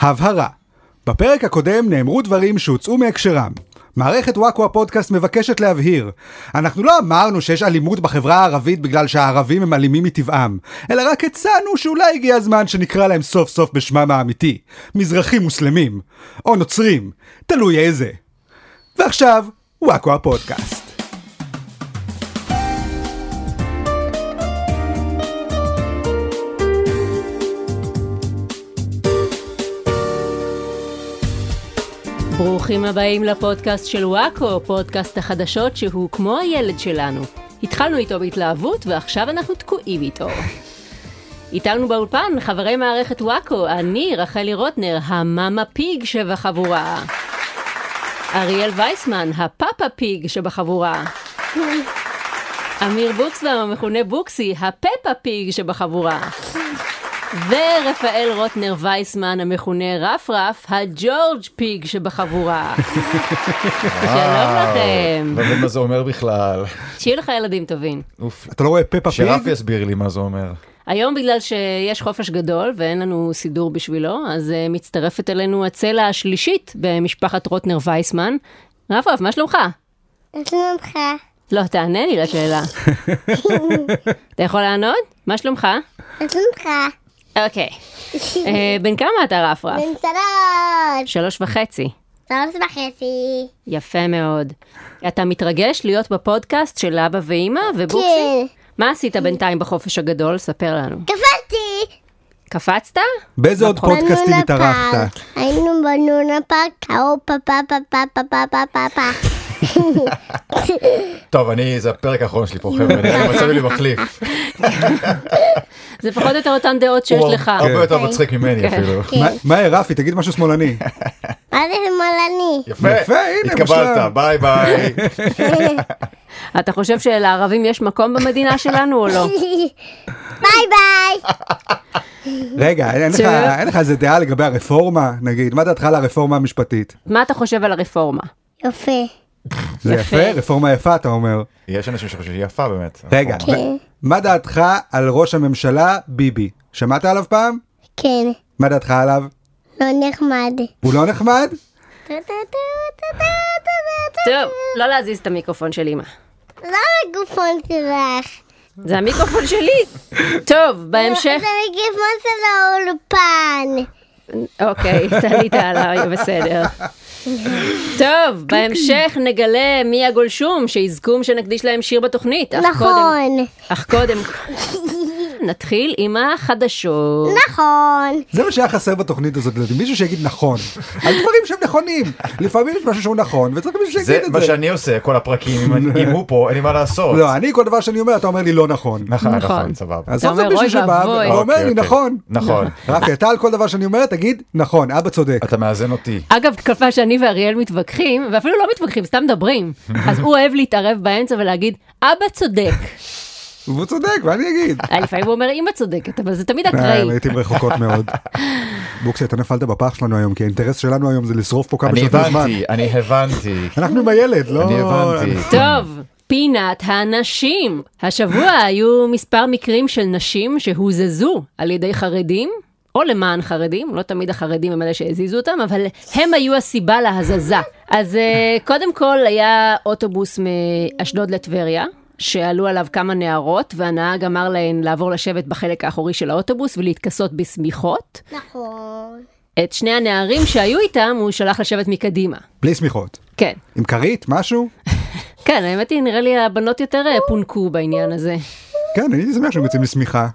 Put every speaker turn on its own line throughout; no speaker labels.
הבהרה בפרק הקודם נאמרו דברים שהוצאו מהקשרם. מערכת וואקו הפודקאסט מבקשת להבהיר. אנחנו לא אמרנו שיש אלימות בחברה הערבית בגלל שהערבים הם אלימים מטבעם, אלא רק הצענו שאולי הגיע הזמן שנקרא להם סוף סוף בשמם האמיתי. מזרחים מוסלמים. או נוצרים. תלוי איזה. ועכשיו, וואקו הפודקאסט.
ברוכים הבאים לפודקאסט של וואקו, פודקאסט החדשות שהוא כמו הילד שלנו. התחלנו איתו בהתלהבות ועכשיו אנחנו תקועים איתו. איתנו באולפן חברי מערכת וואקו, אני רחלי רוטנר, המאמה פיג שבחבורה. אריאל וייסמן, הפאפה פיג שבחבורה. אמיר בוקסבאום, המכונה בוקסי, הפפה פיג שבחבורה. ורפאל רוטנר וייסמן, המכונה רפרף, הג'ורג' פיג שבחבורה. שלום לכם.
לא יודע מה זה אומר בכלל.
שיהיו לך ילדים טובים.
אוף.
אתה לא רואה פפה פיג?
שרפי יסביר לי מה זה אומר.
היום בגלל שיש חופש גדול ואין לנו סידור בשבילו, אז אה, מצטרפת אלינו הצלע השלישית במשפחת רוטנר וייסמן. רפרף, מה שלומך?
שלומך,
לא, תענה לי לשאלה. אתה יכול לענות? מה שלומך?
שלומך,
אוקיי. אה, בן כמה אתה רפרף?
בן שלוש,
שלוש וחצי.
שלוש וחצי,
יפה מאוד. אתה מתרגש להיות בפודקאסט של אבא ואימא ובוקסי?
כן,
מה עשית בינתיים בחופש הגדול? ספר לנו.
קפצתי,
קפצת?
באיזה עוד
נכון.
פודקאסטים
בלונה
התארחת?
פארק. היינו בלונה פארק, האו פה פה פה פה פה פה פה פה פה,
טוב, אני, זה הפרק האחרון שלי פה, חבר'ה, נראה לי מצאנו לי מחליף.
זה פחות או יותר אותן דעות שיש
הוא
לך. כן.
הרבה יותר
אוקיי.
מצחיק ממני אפילו.
מה- מה, אה, רפי, תגיד משהו שמאלני.
מה זה שמאלני?
יפה,
יפה, הנה, מושלם.
התקבלת, ביי ביי.
אתה חושב שלערבים יש מקום במדינה שלנו או לא?
ביי ביי,
רגע, אין לך-
צ'ה.
אין לך איזה דעה לגבי הרפורמה, נגיד? מה דעתך על הרפורמה המשפטית?
מה אתה חושב על הרפורמה?
יפה,
זה
יפה.
יפה, רפורמה יפה, אתה אומר.
יש אנשים שחושבים שהיא יפה באמת. נכון.
רגע,
כן.
הרפורמה.
ו-
כן,
מה דעתך על ראש הממשלה ביבי? שמעת עליו פעם?
כן,
מה דעתך עליו?
לא נחמד,
הוא לא נחמד?
טו, טו, טו, טו, טו, טו, טו.
טוב, לא להזיז את המיקרופון של אמא.
לא הגופון שלך,
זה המיקרופון שלי. טוב, בהמשך...
זה מגפון של האולפן,
אוקיי, תעלית עליי, בסדר. טוב, בהמשך נגלה מי הגולשום, שיזכום שנקדיש להם שיר בתוכנית. אך קודם-
נכון,
אך קודם... נתחיל עם החדשות.
נכון,
זה מה שהיה חסר בתוכנית הזאת, לדעתי, מישהו שיגיד נכון. על דברים שהם נכונים. לפעמים יש משהו שהוא נכון, וצריך מישהו שיגיד
זה
את
מה
זה.
שאני עושה כל הפרקים, אם אני- אם הוא פה, אין לי מה לעשות.
לא, אני כל דבר שאני אומר, אתה אומר לי לא נכון.
נכון,
נכון.
נכון, סבבה.
אז
אתה
סוף סוף
אומר,
מישהו
אוי
שבא
ואבוי.
ואומר
אוקיי,
לי
אוקיי.
נכון.
נכון.
רפי, אתה על כל דבר שאני אומר, תגיד נכון, אבא צודק.
אתה מאזן אותי.
אגב, תקופה שאני ואריאל מתווכחים, ואפילו לא מתווכחים, סתם מדברים. אז הוא אוהב להתערב באמצע ולהגיד, אבא צודק.
אוקיי.
והוא צודק, ואני אגיד.
אה, לפעמים הוא אומר, אמא צודקת, אבל זה תמיד
אה,
אקראי.
לעיתים רחוקות מאוד. בוקסי, אתה נפלת בפח שלנו היום, כי האינטרס שלנו היום זה לשרוף פה כמה
אני
שיותר זמן.
הבנתי, אני הבנתי.
אנחנו עם הילד, לא...
אני הבנתי.
טוב, פינת הנשים. השבוע היו מספר מקרים של נשים שהוזזו על ידי חרדים, או למען חרדים, לא תמיד החרדים הם אלה שהזיזו אותם, אבל הם היו הסיבה להזזה. אז אה, קודם כל היה אוטובוס מאשדוד לטבריה. שעלו עליו כמה נערות, והנהג אמר להן לעבור לשבת בחלק האחורי של האוטובוס ולהתכסות בשמיכות.
נכון,
את שני הנערים שהיו איתם, הוא שלח לשבת מקדימה.
בלי שמיכות.
כן.
עם כרית, משהו?
כן, האמת היא, נראה לי הבנות יותר אה, פונקו בעניין הזה.
כן, אני הייתי שמח שהם יוצאים לשמיכה.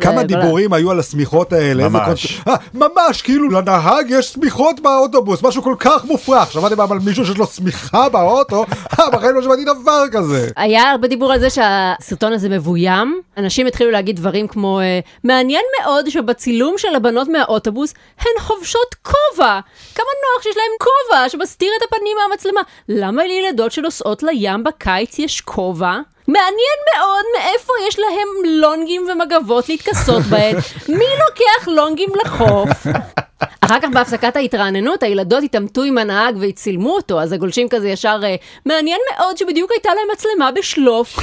כמה
בלה.
דיבורים היו על השמיכות האלה. איזה
ממש.
קונס- אה, ממש, כאילו לנהג יש שמיכות באוטובוס, משהו כל כך מופרך. שמעתם פעם על מישהו שיש לו שמיכה באוטו? אה, בחיים לא שמעתי דבר כזה.
היה הרבה דיבור על זה שהסרטון הזה מבוים. אנשים התחילו להגיד דברים כמו, אה, מעניין מאוד שבצילום של הבנות מהאוטובוס הן חובשות כובע. כמה נוח שיש להן כובע שמסתיר את הפנים מהמצלמה. למה לילדות שנוסעות לים בקיץ יש כובע? מעניין מאוד מאיפה יש להם לונגים ומגבות להתכסות בהן. מי לוקח לונגים לחוף? אחר כך בהפסקת ההתרעננות, הילדות התעמתו עם הנהג וצילמו אותו, אז הגולשים כזה ישר, אה, מעניין מאוד שבדיוק הייתה להם מצלמה בשלוף.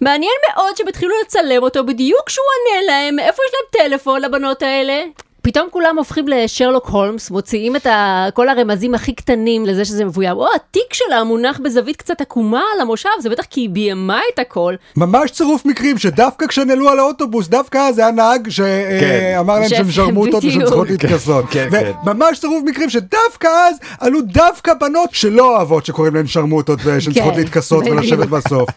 מעניין מאוד שהם התחילו לצלם אותו בדיוק כשהוא עונה להם, איפה יש להם טלפון לבנות האלה? פתאום כולם הופכים לשרלוק הולמס, מוציאים את ה... כל הרמזים הכי קטנים לזה שזה מבוים. או, התיק שלה מונח בזווית קצת עקומה על המושב, זה בטח כי היא ביימה את הכל.
ממש צירוף מקרים שדווקא כשנעלו על האוטובוס, דווקא אז היה נהג
כן.
שאמר להם
ש-
שהם שרמוטות ושהם
בדיוק.
צריכות להתכסות.
כן, כן.
וממש צירוף מקרים שדווקא אז עלו דווקא בנות שלא אוהבות שקוראים להן שרמוטות ושהן
כן,
צריכות להתכסות
בדיוק.
ולשבת בסוף.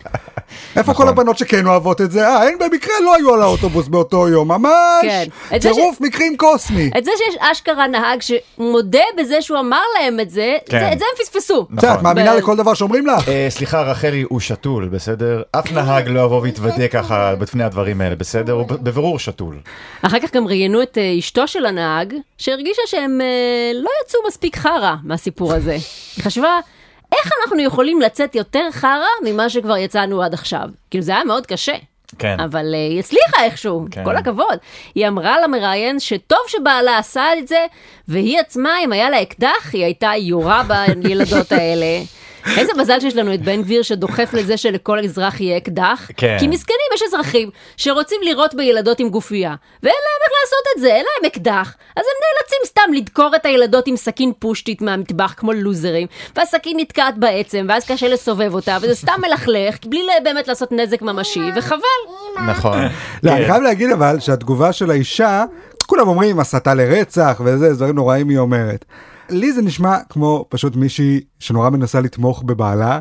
איפה
נכון.
כל הבנות שכן אוהבות את זה? אה, הן במקרה לא היו על האוטובוס באותו יום,
כן.
ממש
את זה ש-
צירוף מקרים קוסמי.
את זה שיש אשכרה נהג שמודה בזה שהוא אמר להם את זה,
כן.
זה- את זה הם פספסו.
בסדר,
נכון.
את מאמינה
ב-
לכל דבר שאומרים לך?
אה, סליחה רחלי הוא שתול בסדר אף נהג לא יבוא ויתוודה ככה בפני הדברים האלה בסדר הוא ב- בבירור שתול.
אחר כך גם ראיינו את אה, אשתו של הנהג, שהרגישה שהם אה, לא יצאו מספיק חרא מהסיפור הזה. היא חשבה, איך אנחנו יכולים לצאת יותר חרא ממה שכבר יצאנו עד עכשיו? כאילו זה היה מאוד קשה.
כן.
אבל אה, היא הצליחה איכשהו,
כן.
כל הכבוד. היא אמרה למראיין שטוב שבעלה עשה את זה, והיא עצמה, אם היה לה אקדח, היא הייתה יורה בילדות האלה. איזה מזל שיש לנו את בן גביר שדוחף לזה שלכל אזרח יהיה אקדח.
כן.
כי מסכנים, יש אזרחים שרוצים לירות בילדות עם גופייה, ואין להם איך לעשות את זה, אין להם אקדח. אז הם נאלצים סתם לדקור את הילדות עם סכין פושטית מהמטבח כמו לוזרים, והסכין נתקעת בעצם, ואז קשה לסובב אותה, וזה סתם מלכלך, בלי באמת לעשות נזק ממשי, וחבל.
נכון.
לא,
כן.
אני חייב להגיד אבל שהתגובה של האישה, כולם אומרים הסתה לרצח וזה, דברים נוראים היא אומרת. לי זה נשמע כמו פשוט מישהי שנורא מנסה לתמוך בבעלה,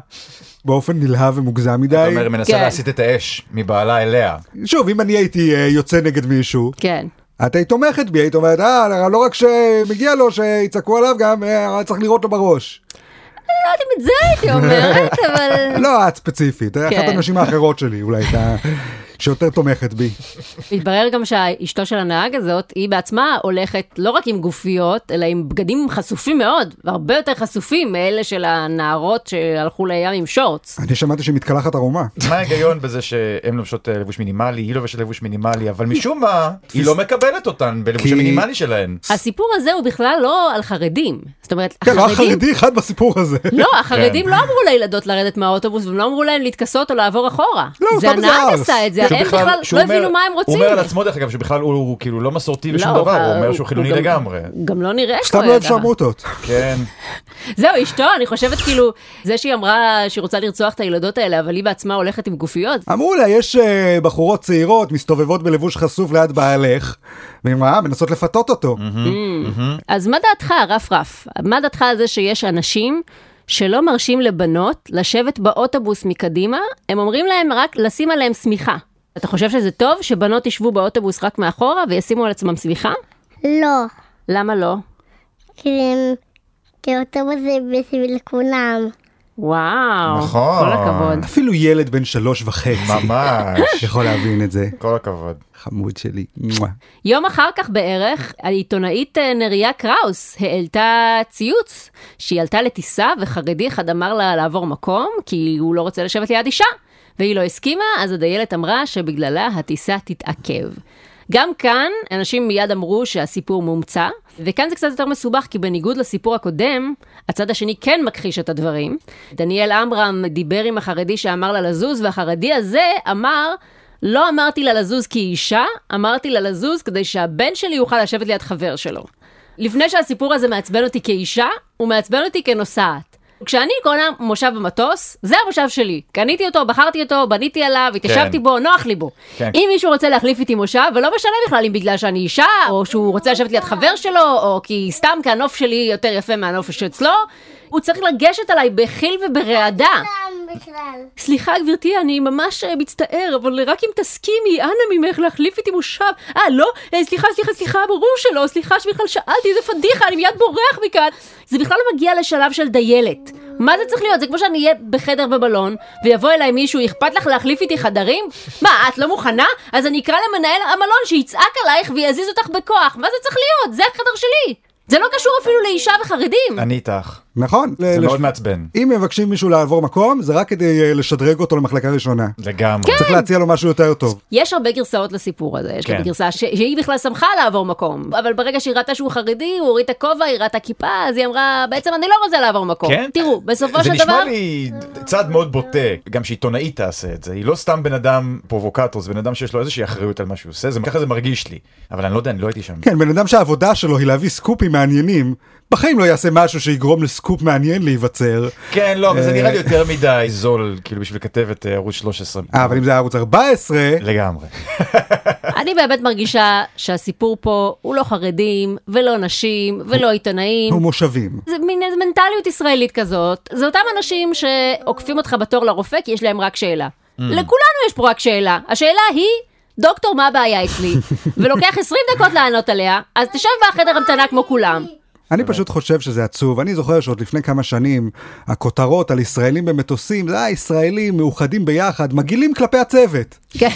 באופן נלהב ומוגזם
אתה
מדי.
אומר היא מנסה
כן.
להסיט את האש מבעלה אליה.
שוב, אם אני הייתי אה, יוצא נגד מישהו,
כן.
את היית תומכת בי, היית אומרת, אה, לא רק שמגיע לו שיצעקו עליו, גם אה, צריך לירות לו בראש.
לא יודעת אם את זה הייתי אומרת, אבל...
לא את ספציפית, אחת
כן.
הנשים האחרות שלי אולי, הייתה- שיותר תומכת בי.
מתברר גם שאשתו של הנהג הזאת, היא בעצמה הולכת לא רק עם גופיות, אלא עם בגדים חשופים מאוד, והרבה יותר חשופים מאלה של הנערות שהלכו לים עם שורטס.
אני שמעתי שהיא מתקלחת ערומה.
מה ההיגיון בזה שהן לובשות אה, לבוש מינימלי היא לובשת לבוש מינימלי אבל משום מה היא לא מקבלת אותן בלבוש
כי-
המינימלי שלהן.
הסיפור הזה הוא בכלל לא על חרדים. זאת אומרת,
כן,
לא
רק
החרדים...
חרדי אחד בסיפור הזה.
לא,
כן.
החרדים לא אמרו לילדות לרדת מהאוטובוס, והם לא אמרו להם להתכסות או לעבור אחורה.
לא,
זה
סתם זה
הנהג
ארס.
עשה את זה,
שהוא
הם בכלל
שהוא
לא
אומר-
הבינו מה הם רוצים.
הוא אומר על עצמו דרך אגב שבכלל הוא- הוא כאילו לא מסורתי ושום
לא,
דבר הוא
אבל
אומר שהוא חילוני
גם-
לגמרי.
גם לא נראה
סתם
שהוא
לא אוהב
ידע.
שרמוטות.
כן.
זהו, אשתו, אני חושבת כאילו, זה שהיא אמרה שהיא רוצה לרצוח את הילדות האלה, אבל היא בעצמה הולכת עם גופיות.
אמרו לה, יש אה, בחורות צעירות מסתובבות בלבוש חשוף ליד בעלך, והיא אמרה, "אה, מנסות לפתות אותו.
אז מה דעתך, רף רף? מה דעתך על זה שיש אנשים שלא מרשים לבנות לשבת באוטובוס מקדימה, הם אומרים להם רק לשים עליהם שמיכה. אתה חושב שזה טוב שבנות ישבו באוטובוס רק מאחורה וישימו על עצמם שמיכה?
לא.
למה לא?
כי הם- כי האוטובוס זה בשביל כולם.
וואו,
נכון.
כל הכבוד.
אפילו ילד בן שלוש וחצי
ממש.
יכול להבין את זה.
כל הכבוד.
חמוד שלי. מואה.
יום אחר כך בערך, העיתונאית אה, נריה קראוס העלתה ציוץ שהיא עלתה לטיסה וחרדי אחד אמר לה לעבור מקום כי הוא לא רוצה לשבת ליד אישה, והיא לא הסכימה, אז הדיילת אמרה שבגללה הטיסה תתעכב. גם כאן, אנשים מיד אמרו שהסיפור מומצא, וכאן זה קצת יותר מסובך, כי בניגוד לסיפור הקודם, הצד השני כן מכחיש את הדברים. דניאל עמרם דיבר עם החרדי שאמר לה לזוז, והחרדי הזה אמר, לא אמרתי לה לזוז כי היא אישה, אמרתי לה לזוז כדי שהבן שלי יוכל לשבת ליד חבר שלו. לפני שהסיפור הזה מעצבן אותי כאישה, הוא מעצבן אותי כנוסעת. כשאני קונה מושב במטוס, זה המושב שלי. קניתי אותו, בחרתי אותו, בניתי עליו, התיישבתי בו, נוח לי בו.
כן.
אם מישהו רוצה להחליף איתי מושב, ולא משנה בכלל אם בגלל שאני אישה, או שהוא רוצה לשבת ליד חבר שלו, או כי סתם כי הנוף שלי יותר יפה מהנוף שאצלו, הוא צריך לגשת עליי בחיל וברעדה.
גם בכלל.
סליחה גברתי, אני ממש אה, מצטער, אבל רק אם תסכימי, אנא ממך להחליף איתי מושב. אה, לא? אה, סליחה, סליחה, סליחה, ברור שלא, סליחה שבכלל שאלתי, איזה פדיחה, אני מיד בורח מכאן. זה בכלל לא מגיע לשלב של דיילת. מה זה צריך להיות? זה כמו שאני אהיה בחדר בבלון, ויבוא אליי מישהו, אכפת לך להחליף איתי חדרים? מה, את לא מוכנה? אז אני אקרא למנהל המלון שיצעק עלייך ויזיז אותך בכוח. מה זה צריך להיות? זה החדר שלי. זה לא קשור אפילו לאישה וחרדים.
אני איתך.
נכון.
זה
ל-
מאוד
לש-
מעצבן.
אם מבקשים מישהו לעבור מקום, זה רק כדי אה, לשדרג אותו למחלקה ראשונה.
לגמרי.
צריך להציע לו משהו יותר טוב.
יש הרבה גרסאות לסיפור הזה, יש
כן.
לי גרסה ש... שהיא בכלל שמחה לעבור מקום, אבל ברגע שהיא ראתה שהוא חרדי, הוא הוריד את הכובע, היא ראתה כיפה, אז היא אמרה, בעצם אני לא רוצה לעבור מקום.
כן?
תראו, בסופו
זה
של
נשמע
דבר...
לי צעד מאוד בוטה, גם שעיתונאית תעשה את זה, היא לא סתם בן אדם פרובוקטור, זה בן אדם שיש לו איזושהי אחריות על מה שהוא עושה, זה ככה זה מרגיש לי, אבל אני לא יודע, אני לא הייתי שם.
כן, בן אדם שהעבודה שלו היא להביא סקופים מעניינים, בחיים לא יעשה משהו שיגרום לסקופ מעניין להיווצר.
כן, לא, אבל זה נראה לי יותר מדי זול, כאילו בשביל כתבת אה, ערוץ 13.
אה, אבל אם זה היה ערוץ 14,
לגמרי.
אני באמת מרגישה שהסיפור פה הוא לא חרדים, ולא נשים, ולא עיתונאים.
הוא מושבים.
זה מין איזה מנטליות ישראלית כזאת. זה אותם אנשים שעוקפים אותך בתור לרופא כי יש להם רק שאלה.
Mm.
לכולנו יש פה רק שאלה. השאלה היא, דוקטור, מה הבעיה אצלי? ולוקח 20 דקות לענות עליה, אז תשב בחדר המתנה כמו כולם.
אני פשוט חושב שזה עצוב. אני זוכר שעוד לפני כמה שנים, הכותרות על ישראלים במטוסים, זה היה ישראלים מאוחדים ביחד, מגעילים כלפי הצוות.
כן,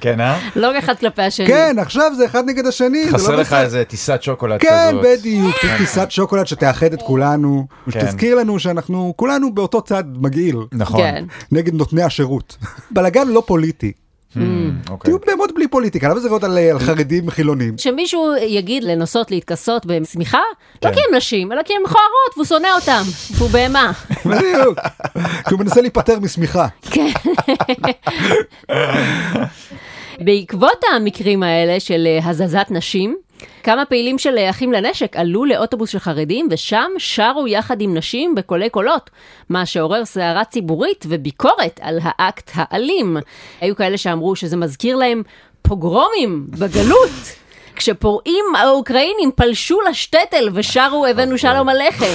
כן, אה?
לא אחד כלפי השני.
כן, עכשיו זה אחד נגד השני. זה לא
חסר לך
בסדר.
איזה טיסת שוקולד
כן,
כזאת.
בדיוק, טיסת שוקולד שתאחד את כולנו,
כן.
שתזכיר לנו שאנחנו כולנו באותו צד מגעיל,
נכון.
כן.
נגד נותני השירות. בלגן לא פוליטי.
אוקיי.
תהיו בהמות בלי פוליטיקה, למה זה ראות על על חרדים חילונים?
שמישהו יגיד לנסות להתכסות בשמיכה, לא כי הם נשים, אלא כי הם מכוערות, והוא שונא אותם, והוא בהמה.
בדיוק. כי הוא מנסה להיפטר משמיכה.
כן. בעקבות המקרים האלה של אה, הזזת נשים, כמה פעילים של אה, אחים לנשק עלו לאוטובוס של חרדים ושם שרו יחד עם נשים בקולי קולות, מה שעורר סערה ציבורית וביקורת על האקט האלים. היו כאלה שאמרו שזה מזכיר להם פוגרומים בגלות. כשפורעים האוקראינים פלשו לשטטל ושרו הבאנו שלום עליכם,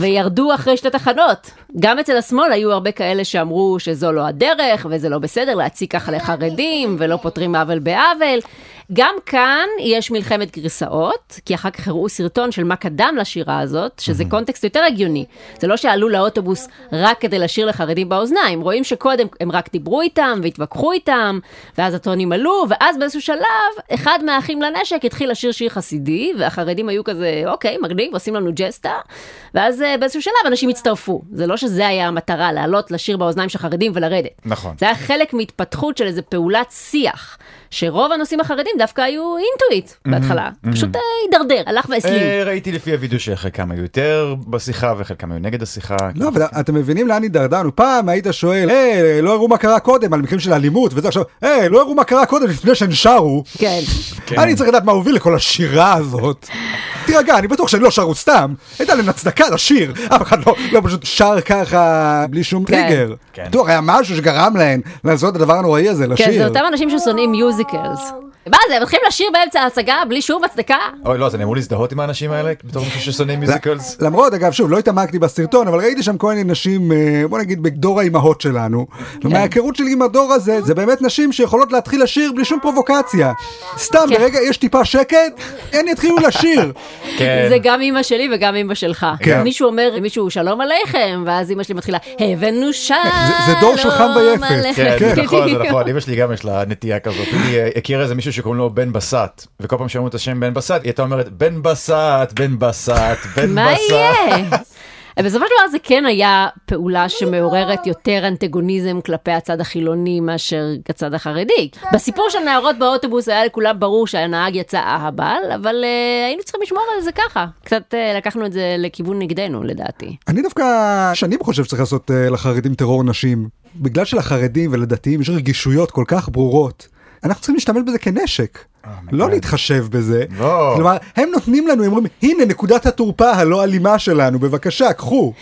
וירדו אחרי שתי תחנות. גם אצל השמאל היו הרבה כאלה שאמרו שזו לא הדרך, וזה לא בסדר להציג ככה לחרדים, ולא פותרים עוול בעוול. גם כאן יש מלחמת גרסאות, כי אחר כך הראו סרטון של מה קדם לשירה הזאת, שזה קונטקסט יותר הגיוני. זה לא שעלו לאוטובוס רק כדי לשיר לחרדים באוזניים, רואים שקודם הם רק דיברו איתם והתווכחו איתם, ואז הטונים עלו, ואז באיזשהו שלב, אחד מהאחים לנשק התחיל לשיר שיר חסידי, והחרדים היו כזה, אוקיי, מגניב, עושים לנו ג'סטה, ואז אה, באיזשהו שלב אנשים הצטרפו. זה לא שזה היה המטרה, לעלות לשיר באוזניים של חרדים ולרדת.
נכון.
זה היה חלק מהתפתחות של איזה פעולת שיח, שרוב הנושאים החרדים דווקא היו אינטואיט בהתחלה. פשוט אה, הידרדר, הלך והסלים.
אה, ראיתי לפי הוידאו שחלקם היו יותר בשיחה וחלקם היו נגד השיחה.
לא, אבל אתם מבינים לאן הידרדרנו? פעם היית שואל, היי, לא הראו מה קרה קודם על מקרים של אלימות, וזה עכשיו, היי, לא הראו מה קרה קודם לפני שהם שרו.
כן.
אני צריך לדעת מה הוביל לכל השירה הזאת. תירגע, אני בטוח שהם לא שרו סתם. הייתה להם הצדקה לשיר. אף אחד לא- לא פשוט שר ככה בלי שום
כן.
טריגר.
כן.
בטוח היה משהו שגרם להם לעשות את הדבר הנוראי הזה, לשיר.
כן, זה אותם אנשים ששונאים מיוזיקלס. מה זה, הם מתחילים לשיר באמצע ההצגה בלי שום הצדקה?
אוי, לא, אז אני אמור להזדהות עם האנשים האלה בתור מישהו ששונא מיוזיקלס?
למרות, אגב, שוב, לא התעמקתי בסרטון, אבל ראיתי שם כל מיני נשים, אה, בוא נגיד, בדור האימהות שלנו. ומההיכרות שלי עם הדור הזה, זה באמת נשים שיכולות להתחיל לשיר בלי שום פרובוקציה. סתם,
כן.
ברגע יש טיפה שקט, הן יתחילו לשיר.
כן.
זה גם אימא שלי וגם אימא שלך.
כן.
מישהו אומר למישהו שלום עליכם, ואז אימא שלי מתחילה, הבאנו שלום
זה- זה דור של חם ויפת.
עליכם."
כן, זה נכון, זה
בדיוק.
נכון, אמא שלי גם יש לה נטייה כזאת. היא אה, הכירה איזה מישהו שקוראים לו בן בסט, וכל פעם שאמרו את השם בן בסט, היא הייתה אומרת בן בסט, בן בסט, בן
מה
בסט.
יהיה? בסופו של דבר זה כן היה פעולה שמעוררת יותר אנטגוניזם כלפי הצד החילוני מאשר הצד החרדי. בסיפור של נערות באוטובוס היה לכולם ברור שהנהג יצא אהבל, אבל אה, היינו צריכים לשמור על זה ככה. קצת אה, לקחנו את זה לכיוון נגדנו לדעתי.
אני דווקא שנים חושב שצריך לעשות אה, לחרדים טרור נשים. בגלל שלחרדים ולדתיים יש רגישויות כל כך ברורות. אנחנו צריכים להשתמש בזה כנשק, לא להתחשב בזה.
לא.
כלומר, הם נותנים לנו, הם אומרים, הנה נקודת התורפה הלא אלימה שלנו, בבקשה, קחו.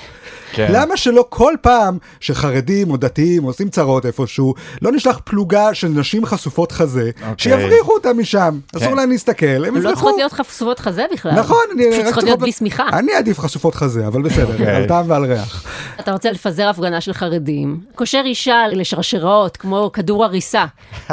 כן.
למה שלא כל פעם שחרדים או דתיים עושים צרות איפשהו, לא נשלח פלוגה של נשים חשופות חזה,
אוקיי.
שיבריחו אותם משם. אסור
כן.
להם להסתכל, הם יברחו.
הן לא צריכות להיות חשופות חזה בכלל.
נכון, אני
פשוט
רק
צריכות להיות בלי שמיכה.
אני אעדיף חשופות חזה, אבל בסדר,
אוקיי.
על טעם ועל ריח.
אתה רוצה לפזר הפגנה של חרדים, קושר אישה לשרשראות, כמו כדור הריסה.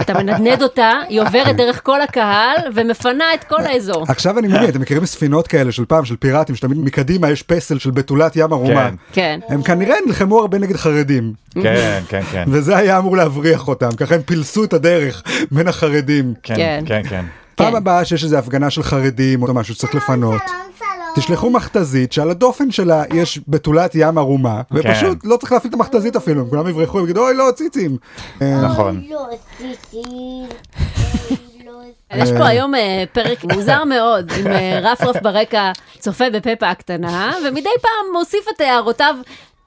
אתה מנדנד אותה, היא עוברת דרך כל הקהל ומפנה את כל האזור.
עכשיו אני
אה.
מבין, אתם מכירים ספינות כאלה של פעם, של פיראטים, שתמיד מקדימה יש פסל של בתולת ים ערומה.
כן.
כן.
הם כנראה נלחמו הרבה נגד חרדים,
כן, כן, כן.
וזה היה אמור להבריח אותם, ככה הם פילסו את הדרך בין החרדים.
כן,
כן.
כן, כן.
פעם
כן.
הבאה שיש איזו הפגנה של חרדים או משהו שצריך לפנות.
שלום, שלום,
תשלחו מכתזית שעל הדופן שלה יש בתולת ים ערומה,
אוקיי.
ופשוט לא צריך להפעיל את המכתזית אפילו, הם כולם יברחו, הם יגידו אוי לא ציצים. אה,
נכון.
לא ציצים. לא
יש פה היום אה, פרק מוזר מאוד, עם אה, רפרף ברקע צופה בפפה הקטנה, ומדי פעם מוסיף את הערותיו.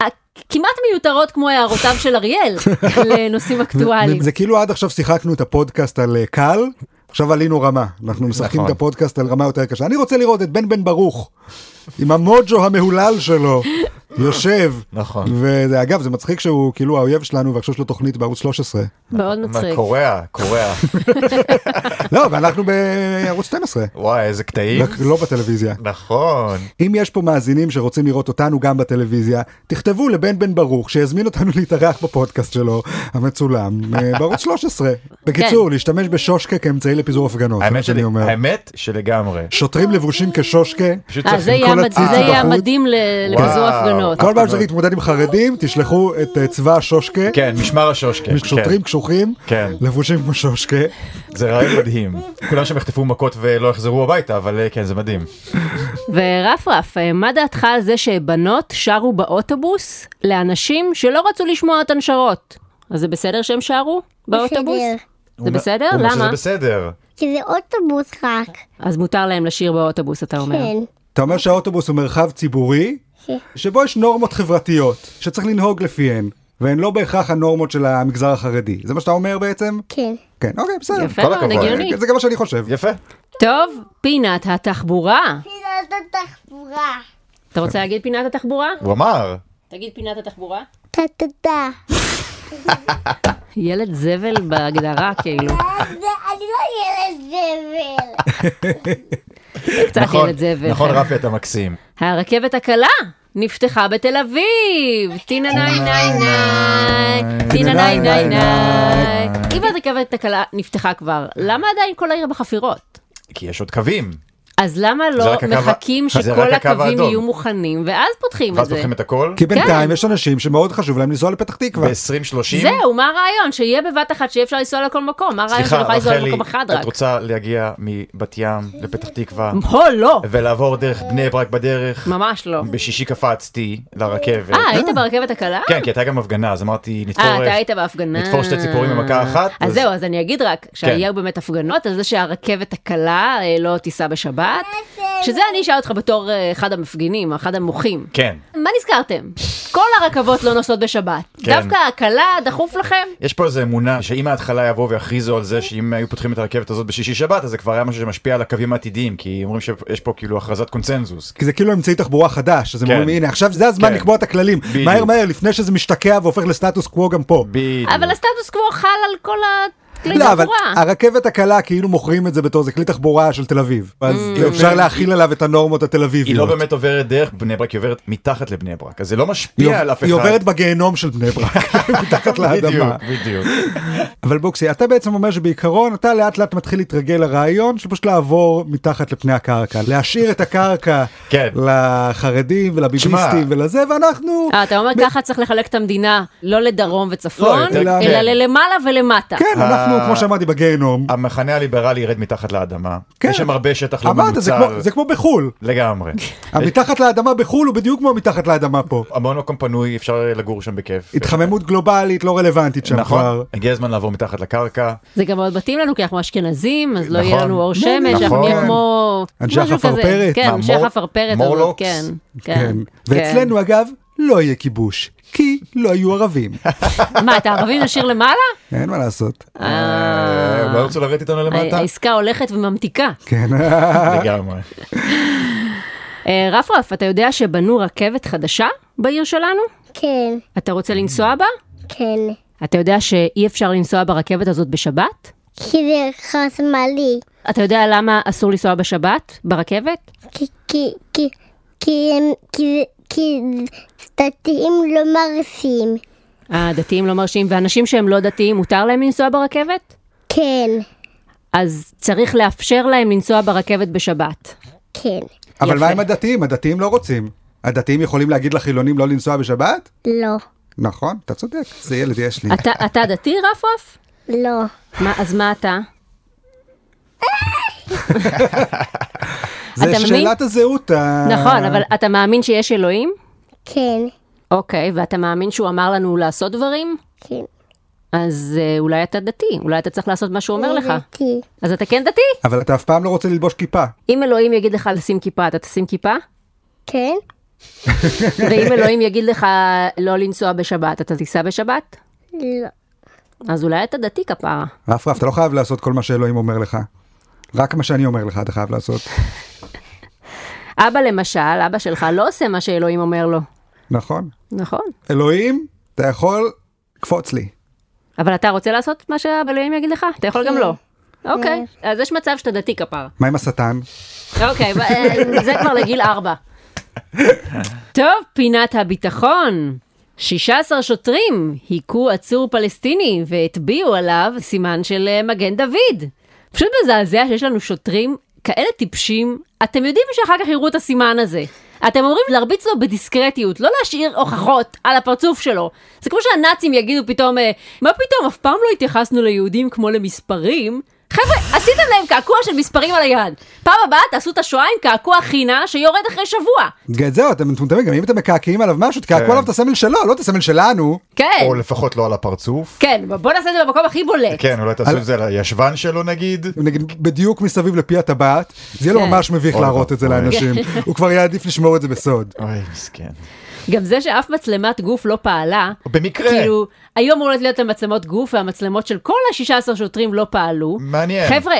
אה, כמעט מיותרות כמו הערותיו של אריאל לנושאים אקטואליים.
זה- זה כאילו עד עכשיו שיחקנו את הפודקאסט על אה, קל, עכשיו עלינו רמה. אנחנו משחקים את
נכון.
הפודקאסט על רמה יותר קשה. אני רוצה לראות את בן בן ברוך, עם המוג'ו המהולל שלו, יושב.
נכון.
וזה אגב זה מצחיק שהוא כאילו האויב שלנו ועכשיו יש לו תוכנית בערוץ 13
מאוד מצחיק.
קוריאה, קוריאה.
לא ואנחנו בערוץ 12
וואי, איזה קטעים.
רק לא בטלוויזיה
לא
נכון.
אם יש פה מאזינים שרוצים לראות אותנו גם בטלוויזיה תכתבו לבן בן ברוך שיזמין אותנו להתארח בפודקאסט שלו המצולם אה, בערוץ 13 בקיצור להשתמש בשושקה כאמצעי לפיזור הפגנות זה מה
האמת
שאני
שלי-
אומר
האמת שלגמרי.
שוטרים לבושים כשושקה
פשוט
אה,
צריך
זה יהיה
כל
המד-
הציצים
זה יהיה
בחוץ.
המדהים ל-
וואו.
לפיזור הפגנות.
כל פעם שצריך להתמודד עם חרדים תשלחו את אה, צבא השושקה
אה, כן, משמר השושקה. כן.
שוטרים קשוחים
כן.
לבושים כמו שושקה.
זה רעיון מדהים. כולם שם יחטפו מכות ולא יחזרו הביתה, אבל אה, כן, זה מדהים.
לא, ורפרף, אה, מה דעתך על זה שבנות שרו באוטובוס לאנשים שלא רצו לשמוע את הנשרות? אז זה בסדר שהם שרו באוטובוס?
בסדר.
זה בסדר?
הוא אומר שזה
למה?
בסדר.
כי זה אוטובוס רק.
אז מותר להם לשיר באוטובוס, אתה אומר.
כן.
אתה אומר שהאוטובוס הוא מרחב ציבורי שבו יש נורמות חברתיות שצריך לנהוג לפיהן והן לא בהכרח הנורמות של המגזר החרדי זה מה שאתה אומר בעצם?
כן.
כן אוקיי בסדר.
יפה
כל
מאוד,
הכבוד.
הגיוני.
זה גם מה שאני חושב.
יפה.
טוב, פינת התחבורה.
פינת התחבורה.
אתה רוצה להגיד פינת התחבורה?
הוא אמר.
תגיד פינת התחבורה.
טה-טה-טה.
ילד זבל בהגדרה, כאילו.
אני לא ילד זבל.
קצת
נכון,
ילד זבל.
נכון, רפי, אתה מקסים.
הרכבת הקלה נפתחה בתל אביב. טינה ניי ניי ניי. טינה ניי ניי ניי. אם הרכבת הקלה נפתחה כבר, למה עדיין כל העיר בחפירות?
כי יש עוד קווים.
אז למה
זה
לא
רק הקו-
מחכים
זה רק
שכל
הקו
הקווים
האדום.
יהיו מוכנים, ואז פותחים את
ואז
זה?
פותחים את הכל.
כי
כן.
בינתיים יש אנשים שמאוד חשוב להם לנסוע לפתח תקווה.
ב-2030.
זהו, מה הרעיון? שיהיה בבת אחת שיהיה אפשר לנסוע לכל מקום. מה הרעיון שאני
סליחה,
יכולה לנסוע
רחלי,
למקום אחד
את
רק?
רוצה להגיע מבת ים לפתח תקווה
או לא,
ולעבור דרך בני ברק בדרך?
ממש לא.
בשישי קפצתי לרכבת.
אה, היית ברכבת הקלה?
כן, כי הייתה גם הפגנה, אז אמרתי, נתפור...
אה, אתה היית בהפגנה.
נתפור שתי ציפורים במכה אחת. כן.
אז זהו, אז אני אגיד רק, שהיו באמת הפגנות, אז זה שהרכבת הקלה אה, לא תיסע בשבת, שזה אני אשאל אותך בתור אה, אחד המפגינים, אחד המוחים.
כן.
מה נזכרתם? כל הרכבות לא נוסעות בשבת.
כן.
דווקא הקלה דחוף לכם?
יש פה איזו אמונה שאם מההתחלה יבואו ויכריזו על זה שאם היו פותחים את הרכבת הזאת בשישי שבת אז זה כבר היה משהו שמשפיע על הקווים העתידיים כי אומרים שיש פה כאילו הכרזת קונצנזוס.
כי זה כאילו אמצעי תחבורה חדש, אז הם
כן.
אומרים הנה עכשיו זה הזמן
כן.
לקבוע את הכללים,
בדיוק.
מהר מהר לפני שזה משתקע והופך לסטטוס קוו גם פה.
בדיוק.
אבל הסטטוס קוו חל על כל הכלי
לא, אבל
תחבורה.
הרכבת הקלה כאילו מוכרים את זה בתור זה כלי תחבורה של תל אביב,
Mm.
אז אפשר להכיל עליו את הנורמות התל
היא לא
אביביות.
באמת עוברת דרך בני ברק, היא עוברת מתחת לבני ברק, אז זה לא
היא
משפיע על אף אחד.
היא עוברת בגיהנום של בני ברק, מתחת לאדמה.
בדיוק, בדיוק.
אבל בוקסי, אתה בעצם אומר שבעיקרון אתה לאט לאט מתחיל להתרגל לרעיון של פשוט לעבור מתחת לפני הקרקע, להשאיר את הקרקע
כן.
לחרדים ולביביסטים
שמע.
ולזה, ואנחנו...
אה, אתה אומר ככה צריך לחלק את המדינה, לא לדרום וצפון,
לא,
יותר-
אלא
כן.
ללמעלה ולמטה.
כן,
אה,
אנחנו, כמו שאמרתי, בגיהנום.
המחנה הליברלי ירד מתחת לאדמה,
כן.
יש שם הרבה שטח לא אה,
אמרת, זה
מנוצל,
כמו- זה כמו בחו"ל.
לגמרי.
המתחת לאדמה בחו"ל הוא בדיוק כמו מתחת לאדמה פה.
המון מקום פנוי, אפשר לגור שם בכיף.
התחממות גלובלית לא רלוונטית שם כבר.
נכון, הגיע הזמן לעבור מתחת לקרקע,
זה גם מאוד מתאים לנו כי אנחנו אשכנזים, אז לא יהיה
נכון.
לנו אור שמש, אנחנו
נכון.
נהיה כמו...
אנשי
משהו כזה.
החפרפרת.
כן,
מה,
אנשי
מור-
החפרפרת הזאת,
מורלוקס?
כן. כן.
כן. ואצלנו אגב, לא יהיה כיבוש, כי לא היו ערבים.
כן. מה, את הערבים נשאיר למעלה?
אין מה לעשות.
אה,
אה, לא ירצו לרדת איתנו למטה,
העסקה הולכת וממתיקה.
כן.
לגמרי.
אה, רפרף, אתה יודע שבנו רכבת חדשה בעיר שלנו?
כן.
אתה רוצה לנסוע בה?
כן.
אתה יודע שאי אפשר לנסוע ברכבת הזאת בשבת?
כי זה חשמלי.
אתה יודע למה אסור לנסוע בשבת ברכבת?
כי, כי, כי, כי הם, כי, כי דתיים לא מרסים.
הדתיים לא מרשים, ואנשים שהם לא דתיים, מותר להם לנסוע ברכבת?
כן,
אז צריך לאפשר להם לנסוע ברכבת בשבת.
כן,
אבל
יפה.
מה עם הדתיים? הדתיים לא רוצים. הדתיים יכולים להגיד לחילונים לא לנסוע בשבת?
לא,
נכון, אתה צודק, זה ילד יש לי.
אתה, אתה דתי, רפרף?
לא.
מה, אז מה אתה?
זה
אתה מבין?
שאלת הזהות. אה, ה-
נכון, אבל אתה מאמין שיש אלוהים?
כן,
אוקיי, ואתה מאמין שהוא אמר לנו לעשות דברים?
כן.
אז אה, אולי אתה דתי, אולי אתה צריך לעשות מה שהוא אומר לך.
לדעתי.
אז אתה כן דתי?
אבל אתה אף פעם לא רוצה ללבוש כיפה.
אם אלוהים יגיד לך לשים כיפה, אתה תשים כיפה?
כן,
ואם אלוהים יגיד לך לא לנסוע בשבת, אתה תיסע בשבת?
לא. אז
אז אולי אתה דתי כפרה.
רפרף, אתה לא חייב לעשות כל מה שאלוהים אומר לך. רק מה שאני אומר לך אתה חייב לעשות.
אבא למשל, אבא שלך לא עושה מה שאלוהים אומר לו.
נכון.
נכון.
אלוהים, אתה יכול, קפוץ לי.
אבל אתה רוצה לעשות מה שאלוהים יגיד לך? אתה יכול גם לא. אוקיי, אז יש מצב שאתה דתי כפרה.
מה עם השטן?
אוקיי, ב- אה, זה כבר לגיל ארבע. טוב, פינת הביטחון. 16 שוטרים היכו עצור פלסטיני והטביעו עליו סימן של אה, מגן דוד. פשוט מזעזע שיש לנו שוטרים כאלה טיפשים. אתם יודעים שאחר כך יראו את הסימן הזה. אתם אומרים להרביץ לו בדיסקרטיות, לא להשאיר הוכחות על הפרצוף שלו. זה כמו שהנאצים יגידו פתאום, אה, מה פתאום, אף פעם לא התייחסנו ליהודים כמו למספרים. חבר'ה, עשיתם להם קעקוע של מספרים על היד. פעם הבאה תעשו את השואה עם קעקוע חינה שיורד אחרי שבוע.
גם את זהו, אתם מטומטמים, גם אם אתם מקעקעים עליו משהו, תקעקעו
כן.
עליו את הסמל שלו, לא את הסמל שלנו.
כן,
או לפחות לא על הפרצוף.
כן, בוא נעשה את זה במקום הכי בולט.
כן, אולי
על-
תעשו את זה על הישבן שלו נגיד.
נגיד בדיוק מסביב לפי הטבעת, זה יהיה לו
כן.
ממש מביך
אוי,
להראות את זה
אוי.
לאנשים. הוא כבר יעדיף לשמור את זה בסוד.
אוי, מסכן.
גם זה שאף מצלמת גוף לא פעלה,
במקרה.
כאילו, היו אמורות להיות המצלמות גוף והמצלמות של כל ה-16 שוטרים לא פעלו.
מעניין.
חבר'ה,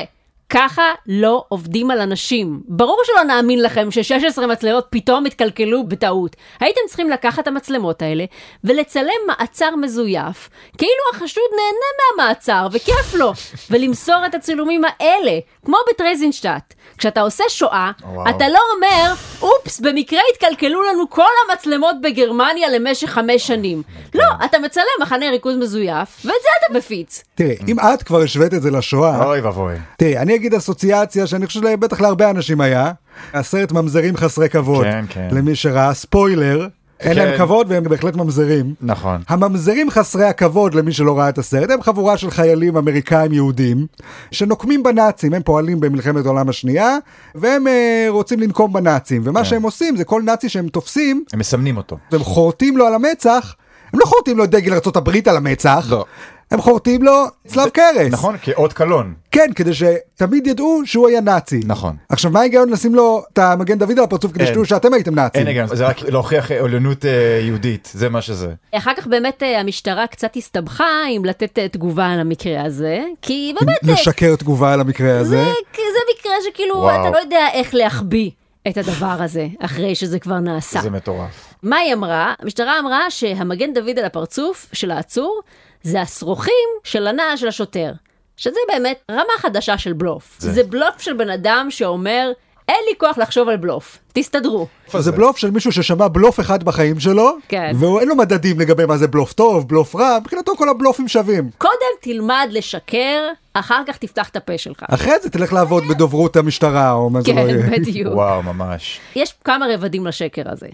ככה לא עובדים על אנשים. ברור שלא נאמין לכם ש-16 מצלמות פתאום התקלקלו בטעות. הייתם צריכים לקחת את המצלמות האלה ולצלם מעצר מזויף, כאילו החשוד נהנה מהמעצר וכיף לו, ולמסור את הצילומים האלה, כמו בטרזינשטט. כשאתה עושה שואה,
וואו.
אתה לא אומר, אופס, במקרה התקלקלו לנו כל המצלמות בגרמניה למשך חמש שנים. לא, אתה מצלם מחנה ריכוז מזויף, ואת זה אתה מפיץ.
תראי,
אה.
אם את כבר השווית את זה לשואה,
אוי ואבוי.
תראי, אני אגיד אסוציאציה שאני חושב שבטח להרבה אנשים היה, הסרט ממזרים חסרי כבוד.
כן, כן.
למי שראה, ספוילר, אין להם
כן.
כבוד והם בהחלט ממזרים.
נכון.
הממזרים חסרי הכבוד למי שלא ראה את הסרט הם חבורה של חיילים אמריקאים יהודים שנוקמים בנאצים הם פועלים במלחמת העולם השנייה והם אה, רוצים לנקום בנאצים ומה
כן.
שהם עושים זה כל נאצי שהם תופסים
הם מסמנים אותו.
הם חורטים לו על המצח הם לא חורטים לו את דגל ארה"ב על המצח
לא.
הם חורטים לו צלב קרס
נכון? כאות קלון.
כן כדי שתמיד ידעו שהוא היה נאצי
נכון.
עכשיו מה ההיגיון לשים לו את המגן דוד על הפרצוף כדי
אין.
שתדעו שאתם הייתם נאצים
אין היגיון, זה רק להוכיח עליונות אה, יהודית, זה מה שזה.
אחר כך באמת אה, המשטרה קצת הסתבכה עם לתת אה, תגובה על המקרה הזה, כי באמת אה,
לשקר תגובה על המקרה הזה.
זה, זה מקרה שכאילו
וואו.
אתה לא יודע איך להחביא את הדבר הזה אחרי שזה כבר נעשה.
זה מטורף.
מה היא אמרה? המשטרה אמרה שהמגן דוד על הפרצוף של העצור זה השרוכים של הנעל של השוטר. שזה באמת רמה חדשה של בלוף. זה,
זה-
זה בלוף של בן אדם שאומר, אין לי כוח לחשוב על בלוף, תסתדרו.
זה בלוף של מישהו ששמע בלוף אחד בחיים שלו,
כן.
ואין לו מדדים לגבי מה זה בלוף טוב, בלוף רע, מבחינתו כל הבלופים שווים.
קודם תלמד לשקר, אחר כך תפתח את הפה שלך.
אחרי זה תלך לעבוד בדוברות המשטרה, או מה אה, זה לא
כן,
יהיה.
בדיוק.
וואו, ממש.
יש כמה רבדים לשקר הזה.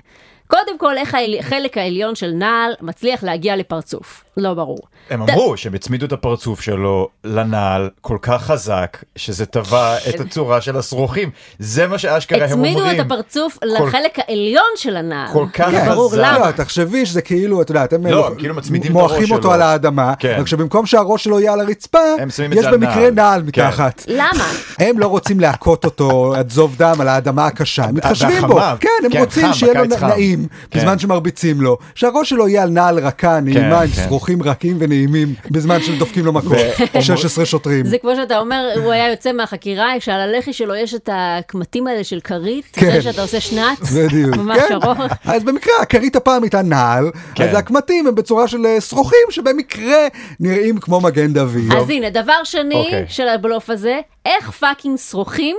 קודם כל, איך החלק העליון של נעל מצליח להגיע לפרצוף? לא ברור.
הם אמרו שהם הצמידו את הפרצוף שלו לנעל כל כך חזק, שזה טבע את הצורה של השרוכים. זה מה שאשכרה הם אומרים.
הצמידו את הפרצוף לחלק העליון של הנעל.
כל כך
לא ברור
חזק.
למה.
לא, תחשבי שזה כאילו, את יודעת, הם
אה, לא,
מוח-
הם כאילו מצמידים את
מועכים
הראש
אותו
שלו.
על האדמה,
כן.
רק שבמקום שהראש שלו יהיה על הרצפה,
הם שמים את
יש
זה על
במקרה
נעל.
נעל
כן.
מתחת.
למה?
הם לא רוצים להכות אותו עד זוב דם על האדמה הקשה, הם מתחשבים בו,
והחמה.
כן, הם
כן,
רוצים
חם,
שיהיה לו
בקיץ חם.
נעים
כן.
בזמן שמרביצים לו, שהראש שלו יהיה על נעל רכה, נעימה, עם
כן.
שרוכים רכים ונעימים, בזמן שדופקים לו מכות, 16 שוטרים.
זה כמו שאתה אומר, הוא היה יוצא מהחקירה, כשעל הלחי שלו יש את הקמטים האלה של כרית,
כן.
זה שאתה עושה שנץ,
בדיוק,
ממש
כן.
ארוך.
אז במקרה הכרית הפעם הייתה נעל,
כן.
אז הקמטים הם בצורה של אה, שרוכים שבמקרה נראים כמו מגן דוד.
אז הנה, דבר שני
לא. אוקיי.
של הבלוף הזה, איך פאקינג שרוכים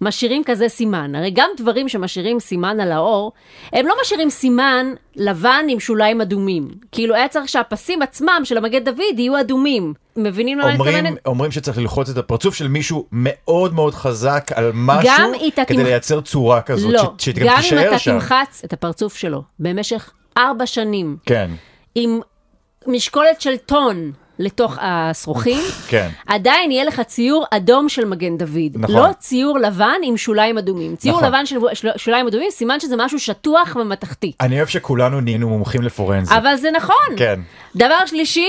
משאירים כזה סימן? הרי גם דברים שמשאירים סימן על האור, הם לא משאירים סימן לבן עם שוליים אדומים. כאילו, היה צריך שהפסים עצמם של המגן דוד יהיו אדומים. מבינים למה אני
אומרים,
מתכוונת?
אומרים שצריך ללחוץ את הפרצוף של מישהו מאוד מאוד חזק על משהו,
גם היא תתמח-
כדי לייצר צורה כזאת,
לא,
ש... שגם
גם אם
תישאר
אתה
שם.
תמחץ את הפרצוף שלו במשך ארבע שנים,
כן,
עם משקולת של טון, לתוך השרוכים,
כן.
עדיין יהיה לך ציור אדום של מגן דוד.
נכון.
לא ציור לבן עם שוליים אדומים. ציור
נכון.
לבן של של- שוליים אדומים, סימן שזה משהו שטוח ומתכתי.
אני אוהב שכולנו נהיינו מומחים לפורנזי.
אבל זה נכון.
כן.
דבר שלישי,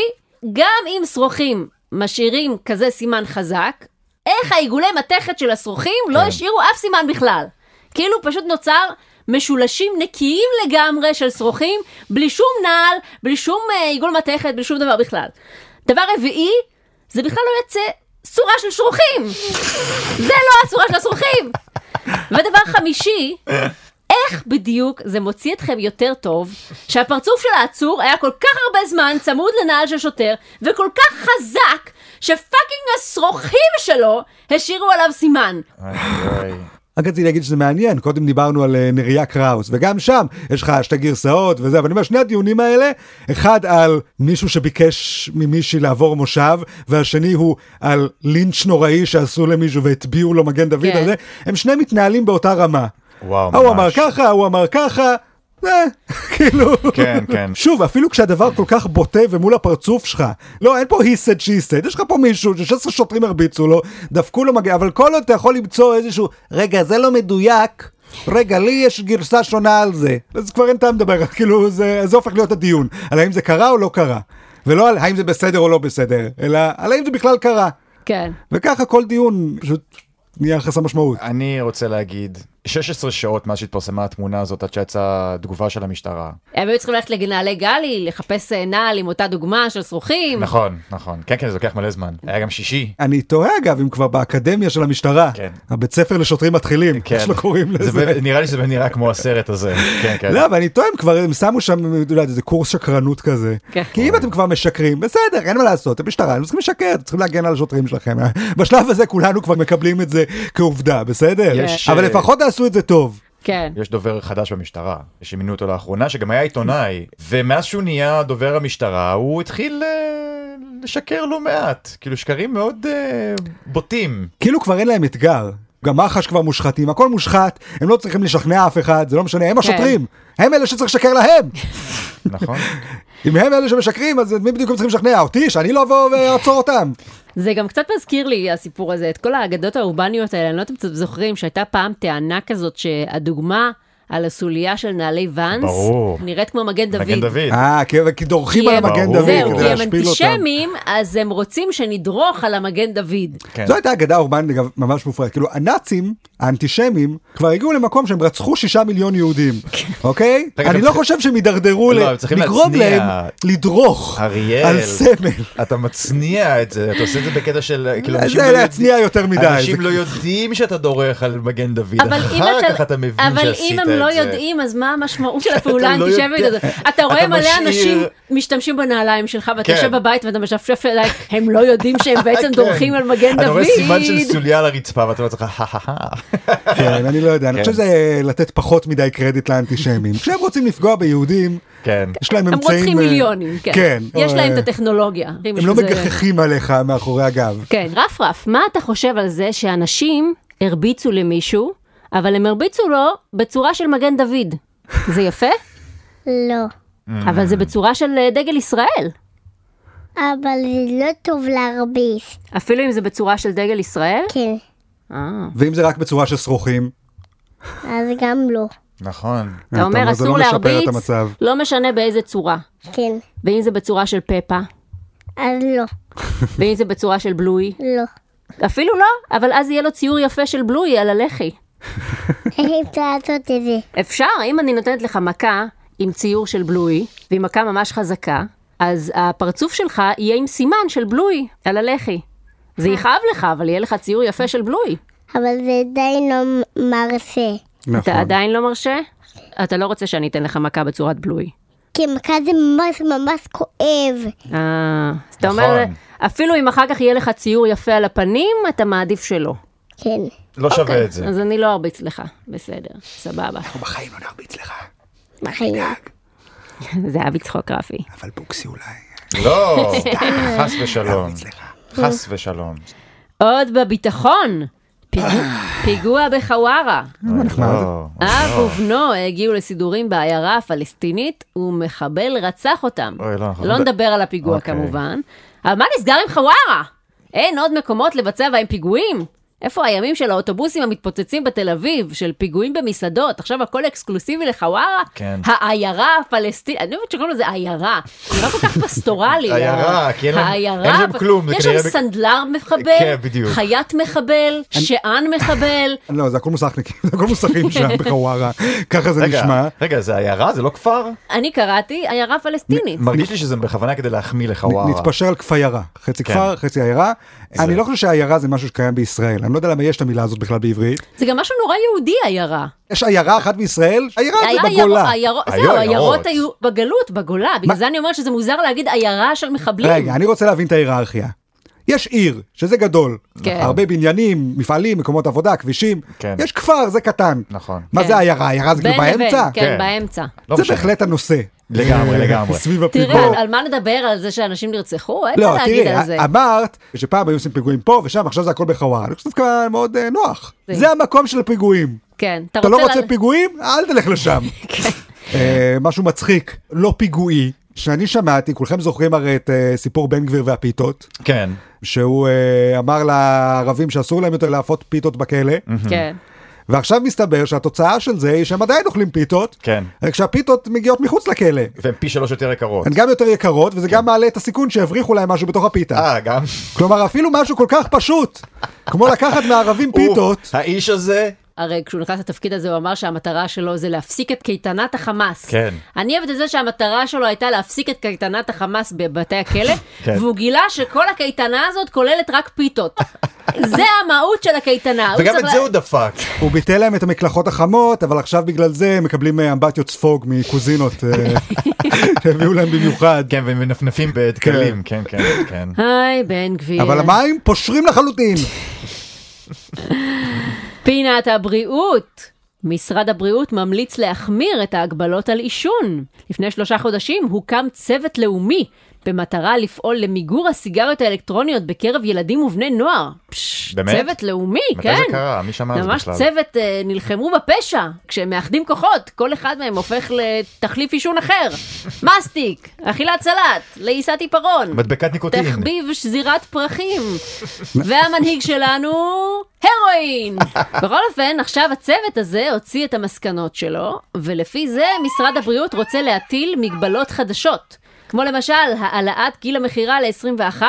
גם אם שרוכים משאירים כזה סימן חזק, איך העיגולי מתכת של השרוכים לא
כן.
השאירו אף סימן בכלל. כאילו פשוט נוצר משולשים נקיים לגמרי של שרוכים, בלי שום נעל, בלי שום אה, עיגול מתכת, בלי שום דבר בכלל. דבר רביעי, זה בכלל לא יצא צורה של שרוכים. זה לא הצורה של השרוכים. ודבר חמישי, איך בדיוק זה מוציא אתכם יותר טוב, שהפרצוף של העצור היה כל כך הרבה זמן צמוד לנעל של שוטר, וכל כך חזק, שפאקינג השרוכים שלו השאירו עליו סימן.
אוי, אוי.
רק רציתי להגיד שזה מעניין, קודם דיברנו על אה, נריה קראוס, וגם שם יש לך שתי גרסאות וזה, אבל אני אומר, שני הדיונים האלה, אחד על מישהו שביקש ממישהי לעבור מושב, והשני הוא על לינץ' נוראי שעשו למישהו והטביעו לו מגן דוד
כן.
על זה, הם שניהם מתנהלים באותה רמה.
וואו,
ההוא אמר
ממש.
ככה, הוא אמר ככה, אה, כאילו...
כן, כן.
שוב, אפילו כשהדבר כל כך בוטה ומול הפרצוף שלך, לא, אין פה he said, she said, יש לך פה מישהו ש-16 שוטרים הרביצו לו, דפקו לו מגן, אבל כל עוד אתה יכול למצוא איזשהו, רגע, זה לא מדויק, רגע, לי יש גרסה שונה על זה. אז כבר אין טעם לדבר, כאילו, זה, זה הופך להיות הדיון, על האם זה קרה או לא קרה. ולא על האם זה בסדר או לא בסדר, אלא על האם זה בכלל קרה.
כן.
וככה כל דיון פשוט נהיה חסר משמעות.
אני רוצה להגיד, 16 שעות מאז שהתפרסמה התמונה הזאת עד שיצאה תגובה של המשטרה.
הם היו צריכים ללכת לנעלי גלי, לחפש אה, נעל עם אותה דוגמה של שרוכים.
נכון, נכון. כן, כן, זה לוקח מלא זמן. היה גם שישי.
אני תוהה אגב אם כבר באקדמיה של המשטרה,
כן.
הבית ספר לשוטרים מתחילים,
כן.
איך שלא קוראים
זה
לזה.
ב- נראה לי שזה נראה כמו הסרט הזה. כן, כן.
לא, אבל אני טועם, כבר הם שמו שם, אתה יודע, איזה קורס שקרנות כזה.
כן.
כי אם אתם כבר משקרים, בסדר, אין מה לעשות, אתם משטרה, אתם צריכים לשקר, אתם צריכים להגן על השוטרים שלכם. בשלב הזה כולנו כבר מקבלים את זה כעובדה, בסדר?
יש,
אבל
אה,
לפחות תעשו את זה טוב.
כן.
יש דובר חדש במשטרה, שמינו אותו לאחרונה, שגם היה עיתונאי, ומאז שהוא נהיה דובר המשטרה, הוא התחיל אה, לשקר לא מעט. כאילו, שקרים מאוד אה, בוטים.
כאילו כבר אין להם אתגר. גם מח"ש כבר מושחתים, הכל מושחת, הם לא צריכים לשכנע אף אחד, זה לא משנה, הם השוטרים, הם אלה שצריך לשקר להם.
נכון?
אם הם אלה שמשקרים, אז את מי בדיוק הם צריכים לשכנע? אותי? שאני לא אבוא ואעצור אותם.
זה גם קצת מזכיר לי הסיפור הזה, את כל האגדות האורבניות האלה, אני לא יודעת אם אתם זוכרים שהייתה פעם טענה כזאת שהדוגמה על הסוליה של נעלי ואנס,
ברור.
נראית כמו מגן דוד.
מגן דוד.
אה, כי כי דורכים על
כי הם-
המגן
ברור.
דוד
זהו,
כדי
כי הם
להשפיל אותם.
אנטישמים, אז הם רוצים שנדרוך על המגן דוד.
כן.
זו הייתה אגדה אורבנית אגב, ממש מופרעת. כאילו הנאצים, האנטישמים, כבר הגיעו למקום שהם רצחו שישה מיליון יהודים, אוקיי?
רגע,
אני
הם
לא
צריכים-
חושב שהם יידרדרו
לא,
ל-
הם צריכים
לגרום
להצניע.
להם לדרוך
אריאל.
על סמל.
אתה מצניע את זה, אתה עושה את זה בקטע של... כאילו,
אה, זה
אנשים לא יודעים-
להצניע יותר מדי,
אנשים
זה-
לא יודעים שאתה דורך על מגן דוד,
אבל אם
אחר
אתה-
כך אתה מבין שעשית את זה.
אבל אם הם לא יודעים, אז מה המשמעות של הפעולה
לא
האנטישמית
יודע.
הזאת? אתה רואה
אתה
מלא
משאיר-
אנשים משתמשים בנעליים שלך, ואתה
כן.
יושב בבית ואתה משפשף ידיים, הם לא יודעים שהם בעצם
כן.
דורכים על מגן
אתה רואה סימן של
דוד.
סוליה על הרצפה ואתה אומר לעצמך, "הא-הא-הא".
כן, אני לא יודע, אני
כן.
חושב שזה לתת פחות מדי קרדיט לאנטישמים. כשהם רוצים לפגוע ביהודים,
כן.
יש להם
הם
אמצעים...
רוצחים
אה,
מיליונים, כן.
כן.
יש
אה,
להם את הטכנולוגיה.
הם לא
שזה-
מגחכים עליך מאחורי הגב.
כן, רפרף, מה אתה חושב על זה שאנשים הרביצו למישהו, אבל הם הרביצו לו בצורה של מגן דוד? זה יפה,
לא.
אבל זה בצורה של אה, דגל ישראל.
אבל זה לא טוב להרביס.
אפילו אם זה בצורה של דגל ישראל?
כן.
אה.
ואם זה רק בצורה של שרוכים,
אז גם לא.
נכון.
אתה אומר
זה לא
אסור
משפר את
להרביץ,
המצב.
לא משנה באיזה צורה.
כן.
ואם זה בצורה של פפה,
אז לא.
ואם זה בצורה של בלוי,
לא.
אפילו לא, אבל אז יהיה לו ציור יפה של בלוי על הלחי.
איך אפשר לעשות את זה?
אפשר, אם אני נותנת לך מכה עם ציור של בלוי, והיא מכה ממש חזקה, אז הפרצוף שלך יהיה עם סימן של בלוי על הלחי. זה יכאב לך, אבל יהיה לך ציור יפה של בלוי.
אבל זה עדיין לא מרפה.
נכון.
אתה עדיין לא מרשה? אתה לא רוצה שאני אתן לך מכה בצורת בלוי.
כי מכה זה ממש ממש כואב.
אה, אז אתה
נכון.
אומר, אפילו אם אחר כך יהיה לך ציור יפה על הפנים, אתה מעדיף שלא.
כן.
לא שווה את זה.
אז אני לא ארביץ לך, בסדר, סבבה.
בחיים לא נרביץ לך,
בחיים.
זה היה בצחוק רפי.
אבל בוקסי אולי. לא
לא, חס ושלום. חס ושלום.
עוד בביטחון, פיגוע- פיגוע בחווארה.
אה, נחמד.
לא,
אב
לא.
ובנו אה, הגיעו לסידורים בעיירה הפלסטינית, ומחבל רצח אותם.
אוי, לא, אנחנו
לא
נד-
נדבר על הפיגוע
אוקיי.
כמובן. אבל מה נסגר עם חווארה? אין עוד מקומות לבצע בהם פיגועים? איפה הימים של האוטובוסים המתפוצצים בתל אביב, של פיגועים במסעדות, עכשיו הכל אקסקלוסיבי לחווארה?
כן.
העיירה הפלסטינית, אני חושבת שקוראים לזה עיירה, זה לא כל כך פסטורלי.
עיירה,
ה-
כי אין להם-
העיירה
אין להם
הפ-
כלום, זה
יש
כנראה
שם
בג-
סנדלר מחבל,
כן, בדיוק.
חיית מחבל, שען מחבל,
לא, זה הכל מוסכניקים, זה הכל מוסכים שם בחווארה, ככה זה
רגע,
נשמע.
רגע, זה עיירה? זה לא כפר?
אני קראתי עיירה פלסטינית.
מרגיש לי שזה בכוונה כדי להחמיא לחווארה.
נתפשר על כפיירה, חצי
כן.
כפר, חצי עיירה. אני לא חושב שעיירה זה משהו שקיים בישראל, אני לא יודע למה יש את המילה הזאת בכלל בעברית.
זה גם משהו נורא יהודי עיירה.
יש עיירה אחת בישראל, עיירה
היה
אה, זה בגולה.
עיירו-
היו
זהו,
עיירות.
עיירות היו בגלות, בגולה. בגלל זה אני אומרת שזה מוזר להגיד עיירה של מחבלים.
רגע, אני רוצה להבין את ההיררכיה. יש עיר, שזה גדול,
כן.
הרבה בניינים, מפעלים, מקומות עבודה, כבישים.
כן.
יש כפר, זה קטן.
נכון.
מה
כן.
זה עיירה? עיירה זה כאילו
בין לבין,
באמצע?
כן,
כן.
באמצע.
לא
זה
משנה.
בהחלט הנושא.
לגמרי, לגמרי.
סביב
תראה,
הפיגור.
על- על מה נדבר? על זה שאנשים נרצחו? אין
לא,
מה להגיד על זה.
אה,
תראי, אמרת שפעם היו עושים פיגועים פה ושם, עכשיו זה הכל בחווארה. אני חושב שזה דווקא מאוד אה, נוח.
זה-
זה המקום של הפיגועים.
כן,
אתה לא
לה-
רוצה פיגועים? אל תלך לשם.
כן.
אה, משהו מצחיק, לא פיגועי, שאני שמעתי, כולכם זוכרים הרי את אה, סיפור בן גביר והפיתות,
כן.
שהוא אה, אמר לערבים שאסור להם יותר להפות פיתות בכלא,
כן.
ועכשיו מסתבר שהתוצאה של זה היא שהם עדיין אוכלים פיתות,
כן.
רק שהפיתות מגיעות מחוץ לכלא.
והן פי שלוש יותר יקרות.
הן גם יותר יקרות, וזה גם מעלה את הסיכון שיבריחו להם משהו בתוך הפיתה.
אה, גם?
כלומר, אפילו משהו כל כך פשוט, כמו לקחת מערבים פיתות,
הוא, האיש הזה?
הרי כשהוא נכנס לתפקיד הזה הוא אמר שהמטרה שלו זה להפסיק את קייטנת החמאס.
כן.
אני אוהבת את זה שהמטרה שלו הייתה להפסיק את קייטנת החמאס בבתי הכלא,
כן.
והוא גילה שכל הקייטנה הזאת כוללת רק פיתות. זה המהות של הקייטנה. הוא
וגם
צריך
את זה
לה-
הוא דפק.
הוא ביטל להם את המקלחות החמות, אבל עכשיו בגלל זה הם מקבלים אה, אמבטיות ספוג מקוזינות אה, שהביאו להם במיוחד.
כן, והם מנפנפים בדקלים. כן, כן, כן.
היי, בן גביר.
אבל המים פושרים לחלוטין.
פינת הבריאות. משרד הבריאות ממליץ להחמיר את ההגבלות על עישון. לפני שלושה חודשים הוקם צוות לאומי במטרה לפעול למיגור הסיגריות האלקטרוניות בקרב ילדים ובני נוער. פשש,
באמת?
צוות לאומי,
מתי
כן.
זה קרה? מי שמע על זה
ממש
בכלל?
צוות אה, נלחמו בפשע, כשהם מאחדים כוחות, כל אחד מהם הופך לתחליף עישון אחר. מסטיק, אכילת סלט, לעיסת עיפרון.
מדבקת ניקוטין.
תחביב שזירת פרחים. והמנהיג שלנו, הרואין. בכל אופן, עכשיו הצוות הזה הוציא את המסקנות שלו, ולפי זה משרד הבריאות רוצה להטיל מגבלות חדשות. כמו למשל, העלאת גיל המכירה ל-21,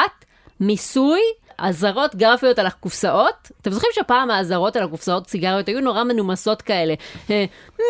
מיסוי, אזהרות גרפיות על הקופסאות. אתם זוכרים שפעם האזהרות על הקופסאות סיגריות היו נורא מנומסות כאלה. אה,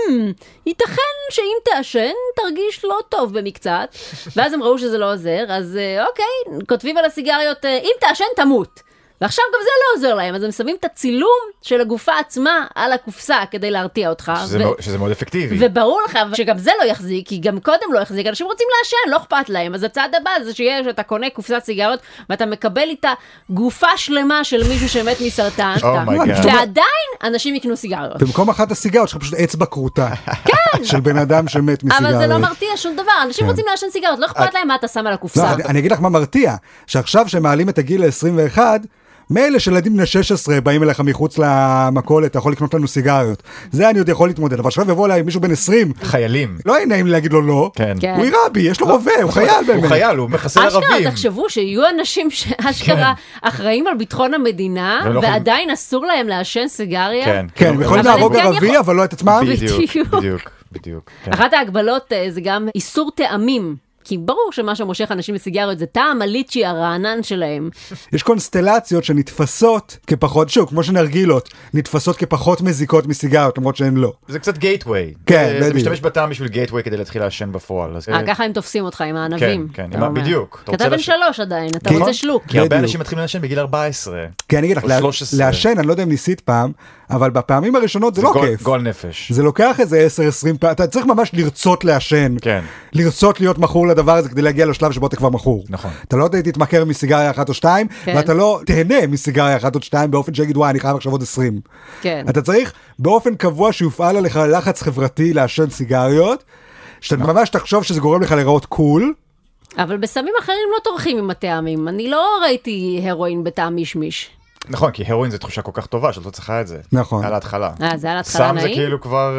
"הם, ייתכן שאם תעשן תרגיש לא טוב במקצת, ואז הם ראו שזה לא עוזר, אז אה, אוקיי, כותבים על הסיגריות, אה, אם תעשן תמות. ועכשיו גם זה לא עוזר להם, אז הם שמים את הצילום של הגופה עצמה על הקופסה כדי להרתיע אותך.
שזה לא-
ו-
מאוד- שזה מאוד אפקטיבי.
וברור לך שגם זה לא יחזיק, כי גם קודם לא יחזיק, אנשים רוצים לעשן, לא אכפת להם. אז הצעד הבא זה שיהיה שאתה קונה קופסת סיגריות, ואתה מקבל איתה גופה שלמה של מישהו שמת מסרטן.
אומייגאד.
ועדיין אנשים יקנו סיגריות.
במקום אחת הסיגרות יש לך פשוט אצבע כרותה. של בן אדם שמת מסיגריות.
אבל זה לא מרתיע שום דבר, אנשים רוצים לעשן סיגריות, לא אכפת להם מה אתה שם על
לא,
הקופסה.
אני- אני אגיד לך מה מרתיע, שעכשיו שמעלים את הגיל ל-21, מילא שילדים בני 16 באים אליך מחוץ למכולת, אתה יכול לקנות לנו סיגריות. זה אני עוד יכול להתמודד, אבל עכשיו יבוא אליי מישהו בן 20,
חיילים.
לא יהיה נעים לי להגיד לו לא.
כן.
כן.
הוא יירה בי, יש לו רובה, הוא חייל
הוא
באמת.
חייל, הוא מחסל ערבים.
אשכרה, תחשבו שיהיו אנשים שאשכרה אחראים על ביטחון המדינה,
והם לא יכולים-
ועדיין אסור להם לעשן סיגריה.
כן.
כן, הם יכולים
אבל הם
להרוג
כן
ערבי,
יכול-
אבל לא את עצמם.
בדיוק,
בדיוק.
בדיוק, בדיוק. כן.
אחת ההגבלות אה, זה גם איסור טעמים. כי ברור שמה שמושך אנשים לסיגריות זה טעם הליצ'י הרענן שלהם.
יש קונסטלציות שנתפסות כפחות, שוב, כמו שנרגילות, נתפסות כפחות מזיקות מסיגריות, למרות שהן לא.
זה קצת גייטווי.
כן,
אתה
בדיוק.
משתמש בטעם בשביל גייטווי כדי להתחיל לעשן בפועל. אז-
אה, ככה הם תופסים אותך עם הענבים.
כן,
אתה
עם ה-
אומר.
בדיוק. אתה
כי אתה בן
רוצה לש- נכון.
שלוש עדיין, אתה
כן.
רוצה שלוק.
כי הרבה
בדיוק.
אנשים מתחילים לעשן בגיל 14.
כן, אני אגיד לך,
או
לה-
13.
לעשן, אני לא יודע אם ניסית פעם, אבל בפעמים הראשונות זה לא
גול-
כיף.
גול נפש.
זה לוקח איזה 10-20 פעם, אתה צריך ממש לרצות לעשן.
כן.
לרצות להיות מכור לדבר הזה כדי להגיע לשלב שבו אתה כבר מכור.
נכון.
אתה לא תתמכר מסיגריה אחת או שתיים,
כן.
ואתה לא תהנה מסיגריה אחת או שתיים באופן שיגיד וואי אני חייב עכשיו עוד 20.
כן.
אתה צריך באופן קבוע שיופעל עליך לחץ חברתי לעשן סיגריות, שאתה
לא.
ממש תחשוב שזה גורם לך להיראות קול.
אבל בסמים אחרים לא טורחים עם הטעמים. אני לא ראיתי הרואין בטעם מישמיש.
נכון, כי הרואין זה תחושה כל כך טובה שאת לא צריכה את זה.
נכון.
על ההתחלה.
אה, זה על ההתחלה
סם זה
נעים?
כאילו כבר...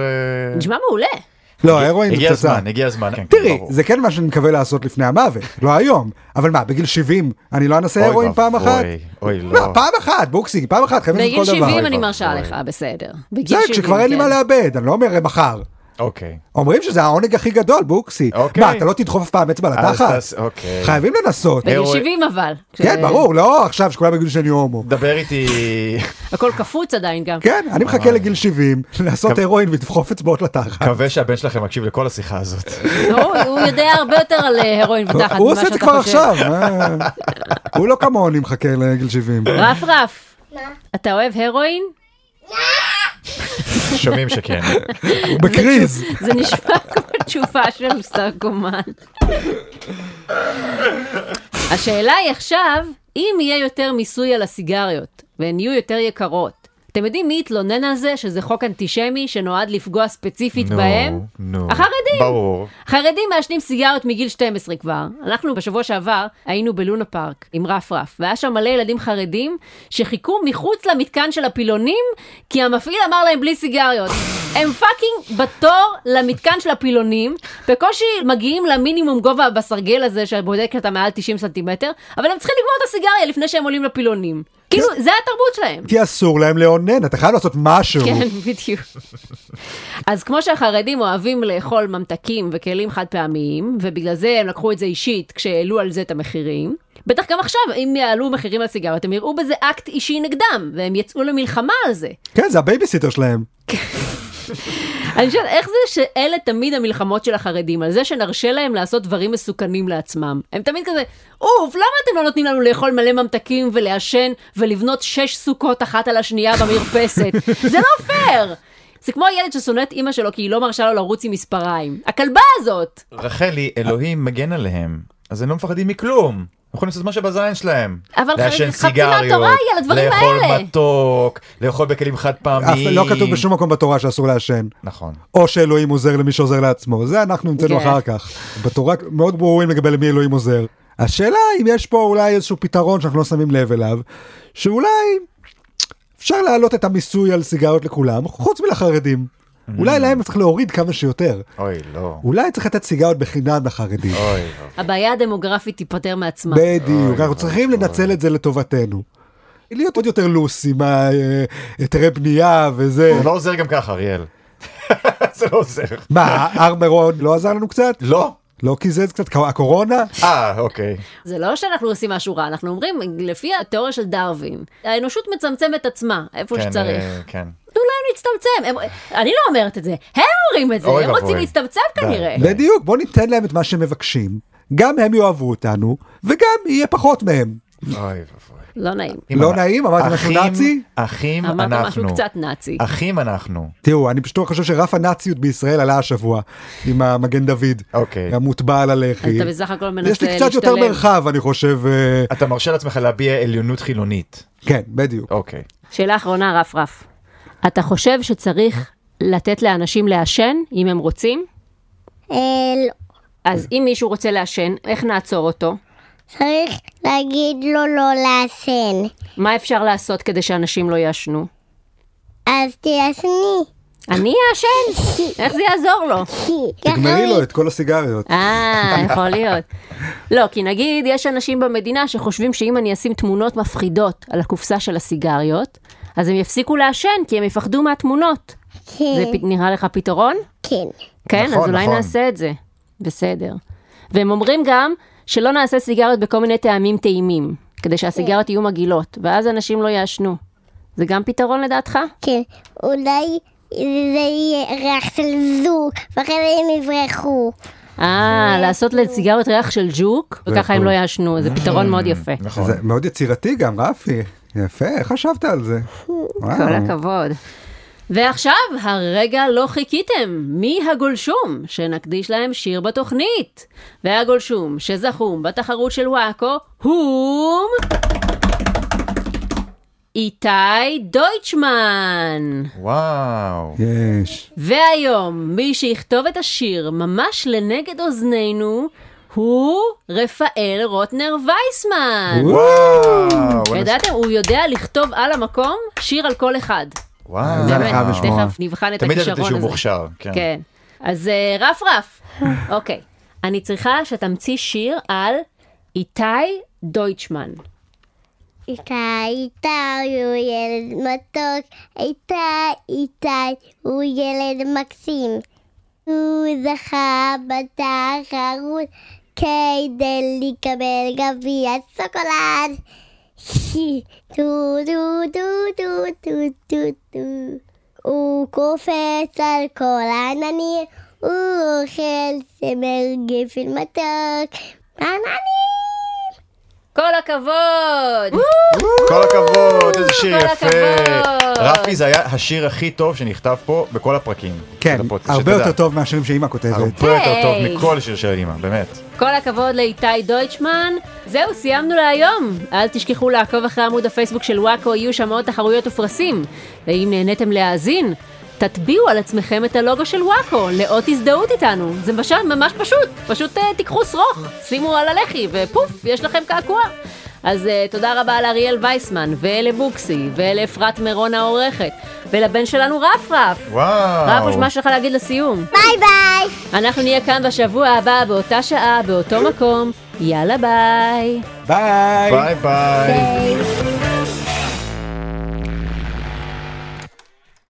אה,
נשמע מעולה.
לא, הרואין זה
הגיע
פצצה.
הזמן, הגיע הזמן. כן,
תראי,
ברור.
זה כן מה שאני מקווה לעשות לפני המוות, לא היום. אבל מה, בגיל 70 אני לא אנסה
אוי
הרואין פעם
ואבוי,
אחת?
אוי,
לא,
לא.
פעם אחת, בוקסי, פעם אחת, חייבים
בגיל
לעשות כל דבר.
70 אני
אוי,
מרשה
אוי.
לך, בסדר. בגיל
זה
70,
כשכבר אין לי
כן.
מה לאבד, אני לא אומר מחר.
אוקיי.
אומרים שזה העונג הכי גדול, בוקסי.
אוקיי.
מה, אתה לא תדחוף אף פעם אצבע
אז
לתחת?
תעש- אוקיי.
חייבים לנסות.
בגיל
הרואין.
70 אבל.
כן,
כש-
ברור, לא עכשיו שכולם יגידו שאני הומו.
דבר איתי...
הכל קפוץ עדיין גם.
כן, אני מחכה לגיל 70, לעשות
כב-
הרואין ולדחוף אצבעות לתחת.
מקווה שהבן שלכם מקשיב לכל השיחה הזאת.
הוא לא, הוא יודע הרבה יותר על אה, הרואין ותחת ממה שאתה חושב.
הוא עושה את זה כבר עכשיו. אה. הוא לא כמוני מחכה לגיל 70.
רף רף, אתה אוהב הרואין?
שומעים שכן.
הוא בקריז.
זה נשמע כמו תשובה של סרקומן. השאלה היא עכשיו, אם יהיה יותר מיסוי על הסיגריות, והן יהיו יותר יקרות, אתם יודעים מי התלונן על זה שזה חוק אנטישמי שנועד לפגוע ספציפית בהם?
נו.
החרדים.
ברור.
חרדים מעשנים סיגריות מגיל 12 כבר. אנחנו בשבוע שעבר היינו בלונה פארק עם רף רף, והיה שם מלא ילדים חרדים שחיכו מחוץ למתקן של הפילונים, כי המפעיל אמר להם בלי סיגריות. הם פאקינג בתור למתקן של הפילונים, בקושי מגיעים למינימום גובה בסרגל הזה שבודק שאתה מעל 90 סנטימטר, אבל הם צריכים לגמור את הסיגריה לפני שהם עולים לפילונים. כאילו, זה התרבות שלהם.
כי אסור להם לאונן, אתה חייב לעשות משהו.
כן, בדיוק. אז כמו שהחרדים אוהבים לאכול ממתקים וכלים חד פעמיים, ובגלל זה הם לקחו את זה אישית כשהעלו על זה את המחירים, בטח גם עכשיו, אם יעלו מחירים על סיגריות, הם יראו בזה אקט אישי נגדם, והם יצאו למלחמה על זה.
כן, זה הבייביסיטר שלהם.
אני חושבת, איך זה שאלה תמיד המלחמות של החרדים, על זה שנרשה להם לעשות דברים מסוכנים לעצמם? הם תמיד כזה, אוף, למה אתם לא נותנים לנו לאכול מלא ממתקים ולעשן ולבנות שש סוכות אחת על השנייה במרפסת? זה לא פייר! זה כמו הילד ששונא את אימא שלו כי היא לא מרשה לו לרוץ עם מספריים. הכלבה הזאת!
רחלי, אלוהים מגן עליהם, אז הם לא מפחדים מכלום. הם יכולים לעשות מה שבזין שלהם.
אבל
לעשן
חצי מהתורה היא על הדברים האלה.
לאכול מתוק, לאכול בכלים חד
אף-
פעמיים.
לא כתוב בשום מקום בתורה שאסור לעשן.
נכון.
או שאלוהים עוזר למי שעוזר לעצמו, זה אנחנו המצאנו
כן.
אחר כך. בתורה מאוד ברורים לגבי למי אלוהים עוזר. השאלה אם יש פה אולי איזשהו פתרון שאנחנו לא שמים לב אליו, שאולי אפשר להעלות את המיסוי על סיגריות לכולם, חוץ מלחרדים.
Mm.
אולי להם צריך להוריד כמה שיותר.
אוי, לא.
אולי צריך לתת סיגריות בחינם לחרדים.
אוי, לא.
הבעיה הדמוגרפית תיפתר מעצמה.
בדיוק, אנחנו צריכים לנצל את זה לטובתנו. להיות עוד יותר לוס עם אה, היתרי בנייה וזה.
זה לא עוזר גם ככה, אריאל. זה לא עוזר.
מה, הר מירון לא עזר לנו קצת?
לא?
לא קיזז קצת? הקורונה?
אה, אוקיי.
זה לא שאנחנו עושים משהו רע, אנחנו אומרים, לפי התיאוריה של דרווין, האנושות מצמצמת עצמה איפה
כן,
שצריך.
אה, כן.
תנו להם להצטמצם. הם... אני לא אומרת את זה, הם אומרים את זה,
אוי
הם
ואבוי.
רוצים להצטמצם
די.
כנראה.
בדיוק, בוא ניתן להם את מה שהם מבקשים, גם הם יאהבו אותנו, וגם יהיה פחות מהם.
אוי ואבוי.
לא נעים.
לא נעים? אמרתי משהו
אחים-
נאצי?
אחים אנחנו. אה.
אמרת משהו קצת נאצי.
אחים אנחנו.
תראו, אני פשוט לא חושב שרף הנאציות בישראל עלה השבוע עם המגן דוד,
אוקיי.
המוטבע על הלחי.
אז אתה בסך הכל מנסה
יש לי קצת יותר
להשתלב.
מרחב, אני חושב. אה,
אתה מרשה לעצמך להביע עליונות חילונית.
כן, בדיוק.
אוקיי.
שאלה אחרונה, רף רף. אתה חושב שצריך לתת לאנשים לעשן, אם הם רוצים?
אה, לא.
אז אם מישהו רוצה לעשן, איך נעצור אותו?
צריך להגיד לו לא לעשן.
מה אפשר לעשות כדי שאנשים לא יעשנו?
אז תעשני.
אני אעשן? איך זה יעזור לו?
תגמרי לו את כל הסיגריות.
אה, יכול להיות. לא, כי נגיד יש אנשים במדינה שחושבים שאם אני אשים תמונות מפחידות על הקופסה של הסיגריות, אז הם יפסיקו לעשן כי הם יפחדו מהתמונות. זה פ- נראה לך פתרון?
כן.
כן,
נכון,
אז אולי
נכון.
נעשה את זה. בסדר. והם אומרים גם שלא נעשה סיגריות בכל מיני טעמים טעימים, כדי שהסיגריות יהיו מגעילות, ואז אנשים לא יעשנו. זה גם פתרון לדעתך? אה,
כן, אולי זה יהיה ריח של זוג, ואחרי זה הם יברחו.
אה, לעשות לסיגריות ריח של ג'וק, וככה הם לא יעשנו, זה פתרון מאוד יפה.
נכון.
זה מאוד יצירתי גם, רפי. יפה, איך חשבת על זה?
כל
וואו.
הכבוד. ועכשיו, הרגע לא חיכיתם, מי הגולשום, שנקדיש להם שיר בתוכנית. והגולשום שזכום בתחרות של וואקו, הוא... איתי דויטשמן.
וואו.
יש.
והיום, מי שיכתוב את השיר ממש לנגד אוזנינו, הוא רפאל רוטנר וייסמן.
וואו, וואלה,
ידעתם, הוא יודע לכתוב על המקום שיר על כל אחד.
וואו.
זה אני
באמת,
חייב לשמוע.
תכף נבחן את
תמיד
הכישרון הזה.
ידעתי שהוא מוכשר, כן.
כן. אז אה, רף רף. אוקיי. אני צריכה שתמציא שיר על איתי דויטשמן.
איתי, איתי, הוא ילד מתוק, איתי, איתי, הוא ילד מקסים. הוא זכה בתחרות כדי לקבל גביע סוקולד. טו טו טו טו טו טו טו הוא קופץ על כל העננים, הוא אוכל צמר גפן מתוק. עננים!
כל הכבוד!
כל הכבוד, איזה שיר
כל
יפה.
הכבוד.
רפי זה היה השיר הכי טוב שנכתב פה בכל הפרקים.
כן,
של הפודקאסט,
הרבה
שתדע.
יותר טוב מהשירים שאימא כותבת.
הרבה יותר טוב
היי.
מכל שיר של אימא, באמת.
כל הכבוד לאיתי דויטשמן. זהו, סיימנו להיום. אל תשכחו לעקוב אחרי עמוד הפייסבוק של וואקו, יהיו שם עוד תחרויות ופרסים. ואם נהניתם להאזין, תטביעו על עצמכם את הלוגו של וואקו, לאות הזדהות איתנו. זה ממש, ממש פשוט. פשוט אה, תיקחו שרוך, שימו על הלחי, ופוף, יש לכם קעקוע. אז uh, תודה רבה לאריאל וייסמן, ולבוקסי, ולאפרת מירון העורכת, ולבן שלנו רפרף.
וואו.
רפוש, מה יש לך להגיד לסיום?
ביי ביי!
אנחנו נהיה כאן בשבוע הבא, באותה שעה, באותו מקום. יאללה ביי.
ביי!
ביי ביי.
ביי.